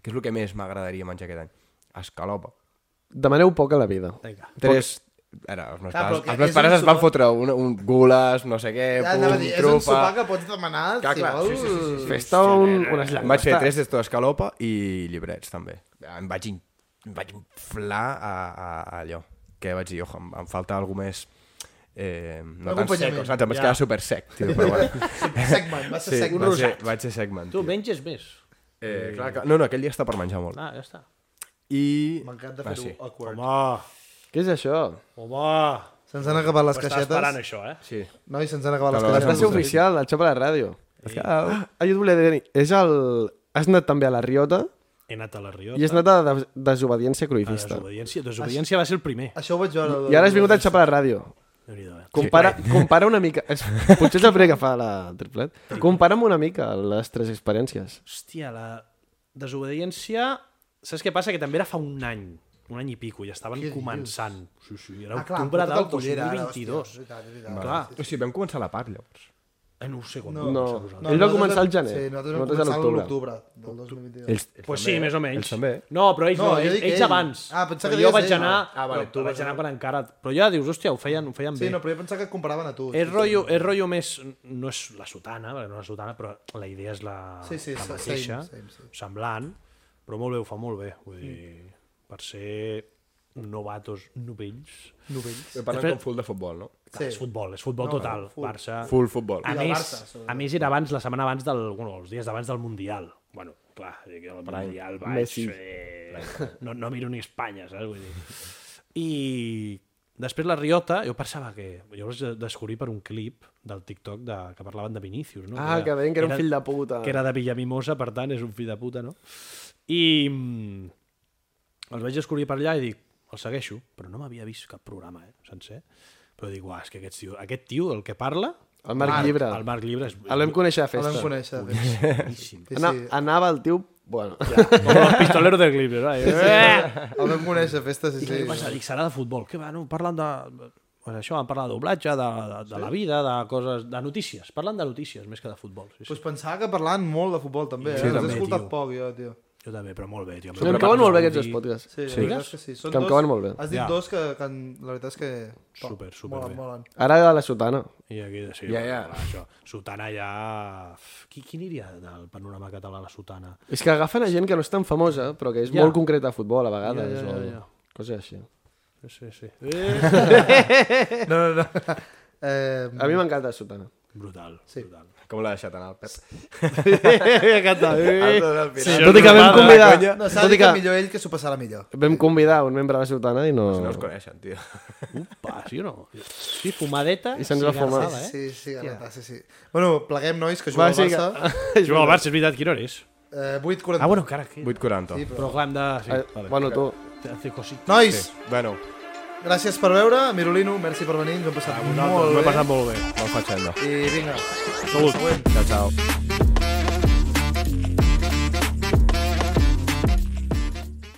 Què és el que més m'agradaria menjar aquest any? Escalopa. Demaneu poc a la vida. Vinga. Tres... Ara, els meus Clar, però pares, que els meus és un pares es van sopar- fotre un, un gules, no sé què, Ja, anava a pum, dir, és un trufa... sopar que pots demanar, Eh, Clar, si clar, vols. sí, sí, sí, sí, sí. Festa un, unes Em vaig fer llagostes. tres d'esto d'escalopa i llibrets, també. Em vaig, in- em vaig inflar a, a, a allò. Que vaig dir, ojo, em, em falta alguna més... Eh, no tan sec, Acompanyament, saps? Em vaig ja. quedar super sec, tio, però bueno. Segment, va ser Sí, segment. vaig ser, vaig ser segment. Tu menges més. Eh, clar, clar, no, no, aquell dia està per menjar molt. Ah, ja està. I... M'encanta Ah, fer-ho sí. awkward. Home, Què és això? home. Se'ns han acabat les Estàs caixetes. esperant això, eh? Sí. Noi, se'ns han acabat les Però Va caixetes. ser oficial, el xapa a la ràdio. Ah, Ah, jo et volia dir, és el... Has anat també a la Riota He anat a la Riota. i has anat a la des- desobediència A cruifista. Desobediència, desobediència va ser el primer. Això ho vaig veure. Ah, I ara has vingut a xapa a la ràdio. déu nhi eh? Compara, compara una mica... És, potser és el primer que fa la triplet. Compara'm una mica les tres experiències. Hòstia, la desobediència... Saps què passa? Que també era fa un any, un any i pico, i estaven començant. Sí, sí, era Ah, clar, octubre amb tota del la cullera, ara, 2022. hòstia, és veritat, és veritat. clar, o sigui, vam començar la part, llavors. eh, no ho sé quan. No. No. No, No, ell va nosaltres començar al vam- gener. Sí, nosaltres vam nosaltres a començar a l'octubre. l'octubre del 2022. Ells, ells Pues sí, més o menys. Ells també. No, però ells eh? No, no, jo ells, dic ells ell. abans. Ah, pensava Però que jo deies vaig ell. anar... Ah, vale, però tu vas vaig anar quan encara... Però ja dius, hòstia, ho feien, ho feien Sí, bé. no, però jo pensava que et comparaven a tu. És rotllo, és rotllo més... No és la sotana, perquè no és la sotana, però la idea és la, Sí, sí, la same, mateixa, same, Mm. same. semblant, però molt bé, ho fa molt bé. Vull dir, per ser novatos novells... Novells. Parlen Després- com full de futbol, no? Clar, És futbol, és futbol No, total, full. Barça. Full futbol. A I del més, Barça, sobretot. a més, era abans, la setmana abans del... Bueno, els dies d'abans del Mundial. Bueno, clar, jo que el Mundial vaig... Messi. Eh, no, no miro ni Espanya, saps? Vull dir. I després la Riota, jo pensava que... Jo vaig descobrir per un clip del TikTok de, que parlaven de Vinícius, no? Ah, que deien que era un fill de puta. Que era de Villamimosa, per tant, és un fill de puta, no? I mm, els vaig descobrir per allà i dic, el segueixo, però no m'havia vist cap programa, eh, sencer. Però dic, uah, és que aquest tio, aquest tio, el que parla, El Marc, Marc Llibre. El Marc Llibre és... El vam conèixer Ah, El a festa. vam conèixer. Sí, Boníssim. sí. Ana, Anava el tio... Bueno, Com el pistolero del Glibre, no? Eh! El vam conèixer a festa, sí, I què sí. li passa? Dic, serà de futbol. Què va? No, parlen de... Pues això, van parlar de doblatge, de, de, de la vida, de coses... De notícies. Parlen de notícies més que de futbol. Sí, sí. Pues pensava que parlaven molt de futbol, també. Eh? Els Sí, he també, escoltat tio. poc, jo, tio. Jo també, però molt bé, tio. no em cauen molt bé aquests dos podcasts. Sí, sí. Sí. la veritat és que sí. Són Que em dos, cauen molt bé. Has dit Ja. dos que, que en- la veritat és que... top. Super, super molen, bé. Molen. Ara de la sotana. I aquí, sí, Ja, ja, ja. ja. Això. Sotana ja... Qui, qui aniria del panorama català a la sotana? És que agafen a gent que no és tan famosa, però que és Ja. molt concreta a futbol, a vegades. Ja, ja, ja, ja. O... Coses així. Sí, sí. Eh! No, no, no. Eh, A mi m'encanta la sotana. Brutal, sí. brutal. Com l'ha deixat anar el Pep? M'encanta. Sí, Sí, tot i que vam convidar... no, s'ha Tot dit i que que millor ell que s'ho passarà millor. vam convidar un membre de la sotana i no... No els coneixen, tio. Upa, sí o no? Sí, fumadeta. I se'ns va fumar. cigarrada, Eh? Sí, sí, garrata, sí, sí. Bueno, pleguem, nois, que juga Va, al sí, Barça. Joan, el Barça, és veritat, quina hora és? Eh, 8.40. Ah, bueno, encara que... 8.40. Sí, però- Però clar, hem de... Sí, Eh, vale. Bueno, tu... Te hace cosita. Nois, Bueno, gràcies per veure. Mirolino, merci per venir. Ens ho hem passat Nosaltres, molt M'ho bé. he passat molt bé. me'l faig, no. I vinga, Salut. següent. Chao, chao.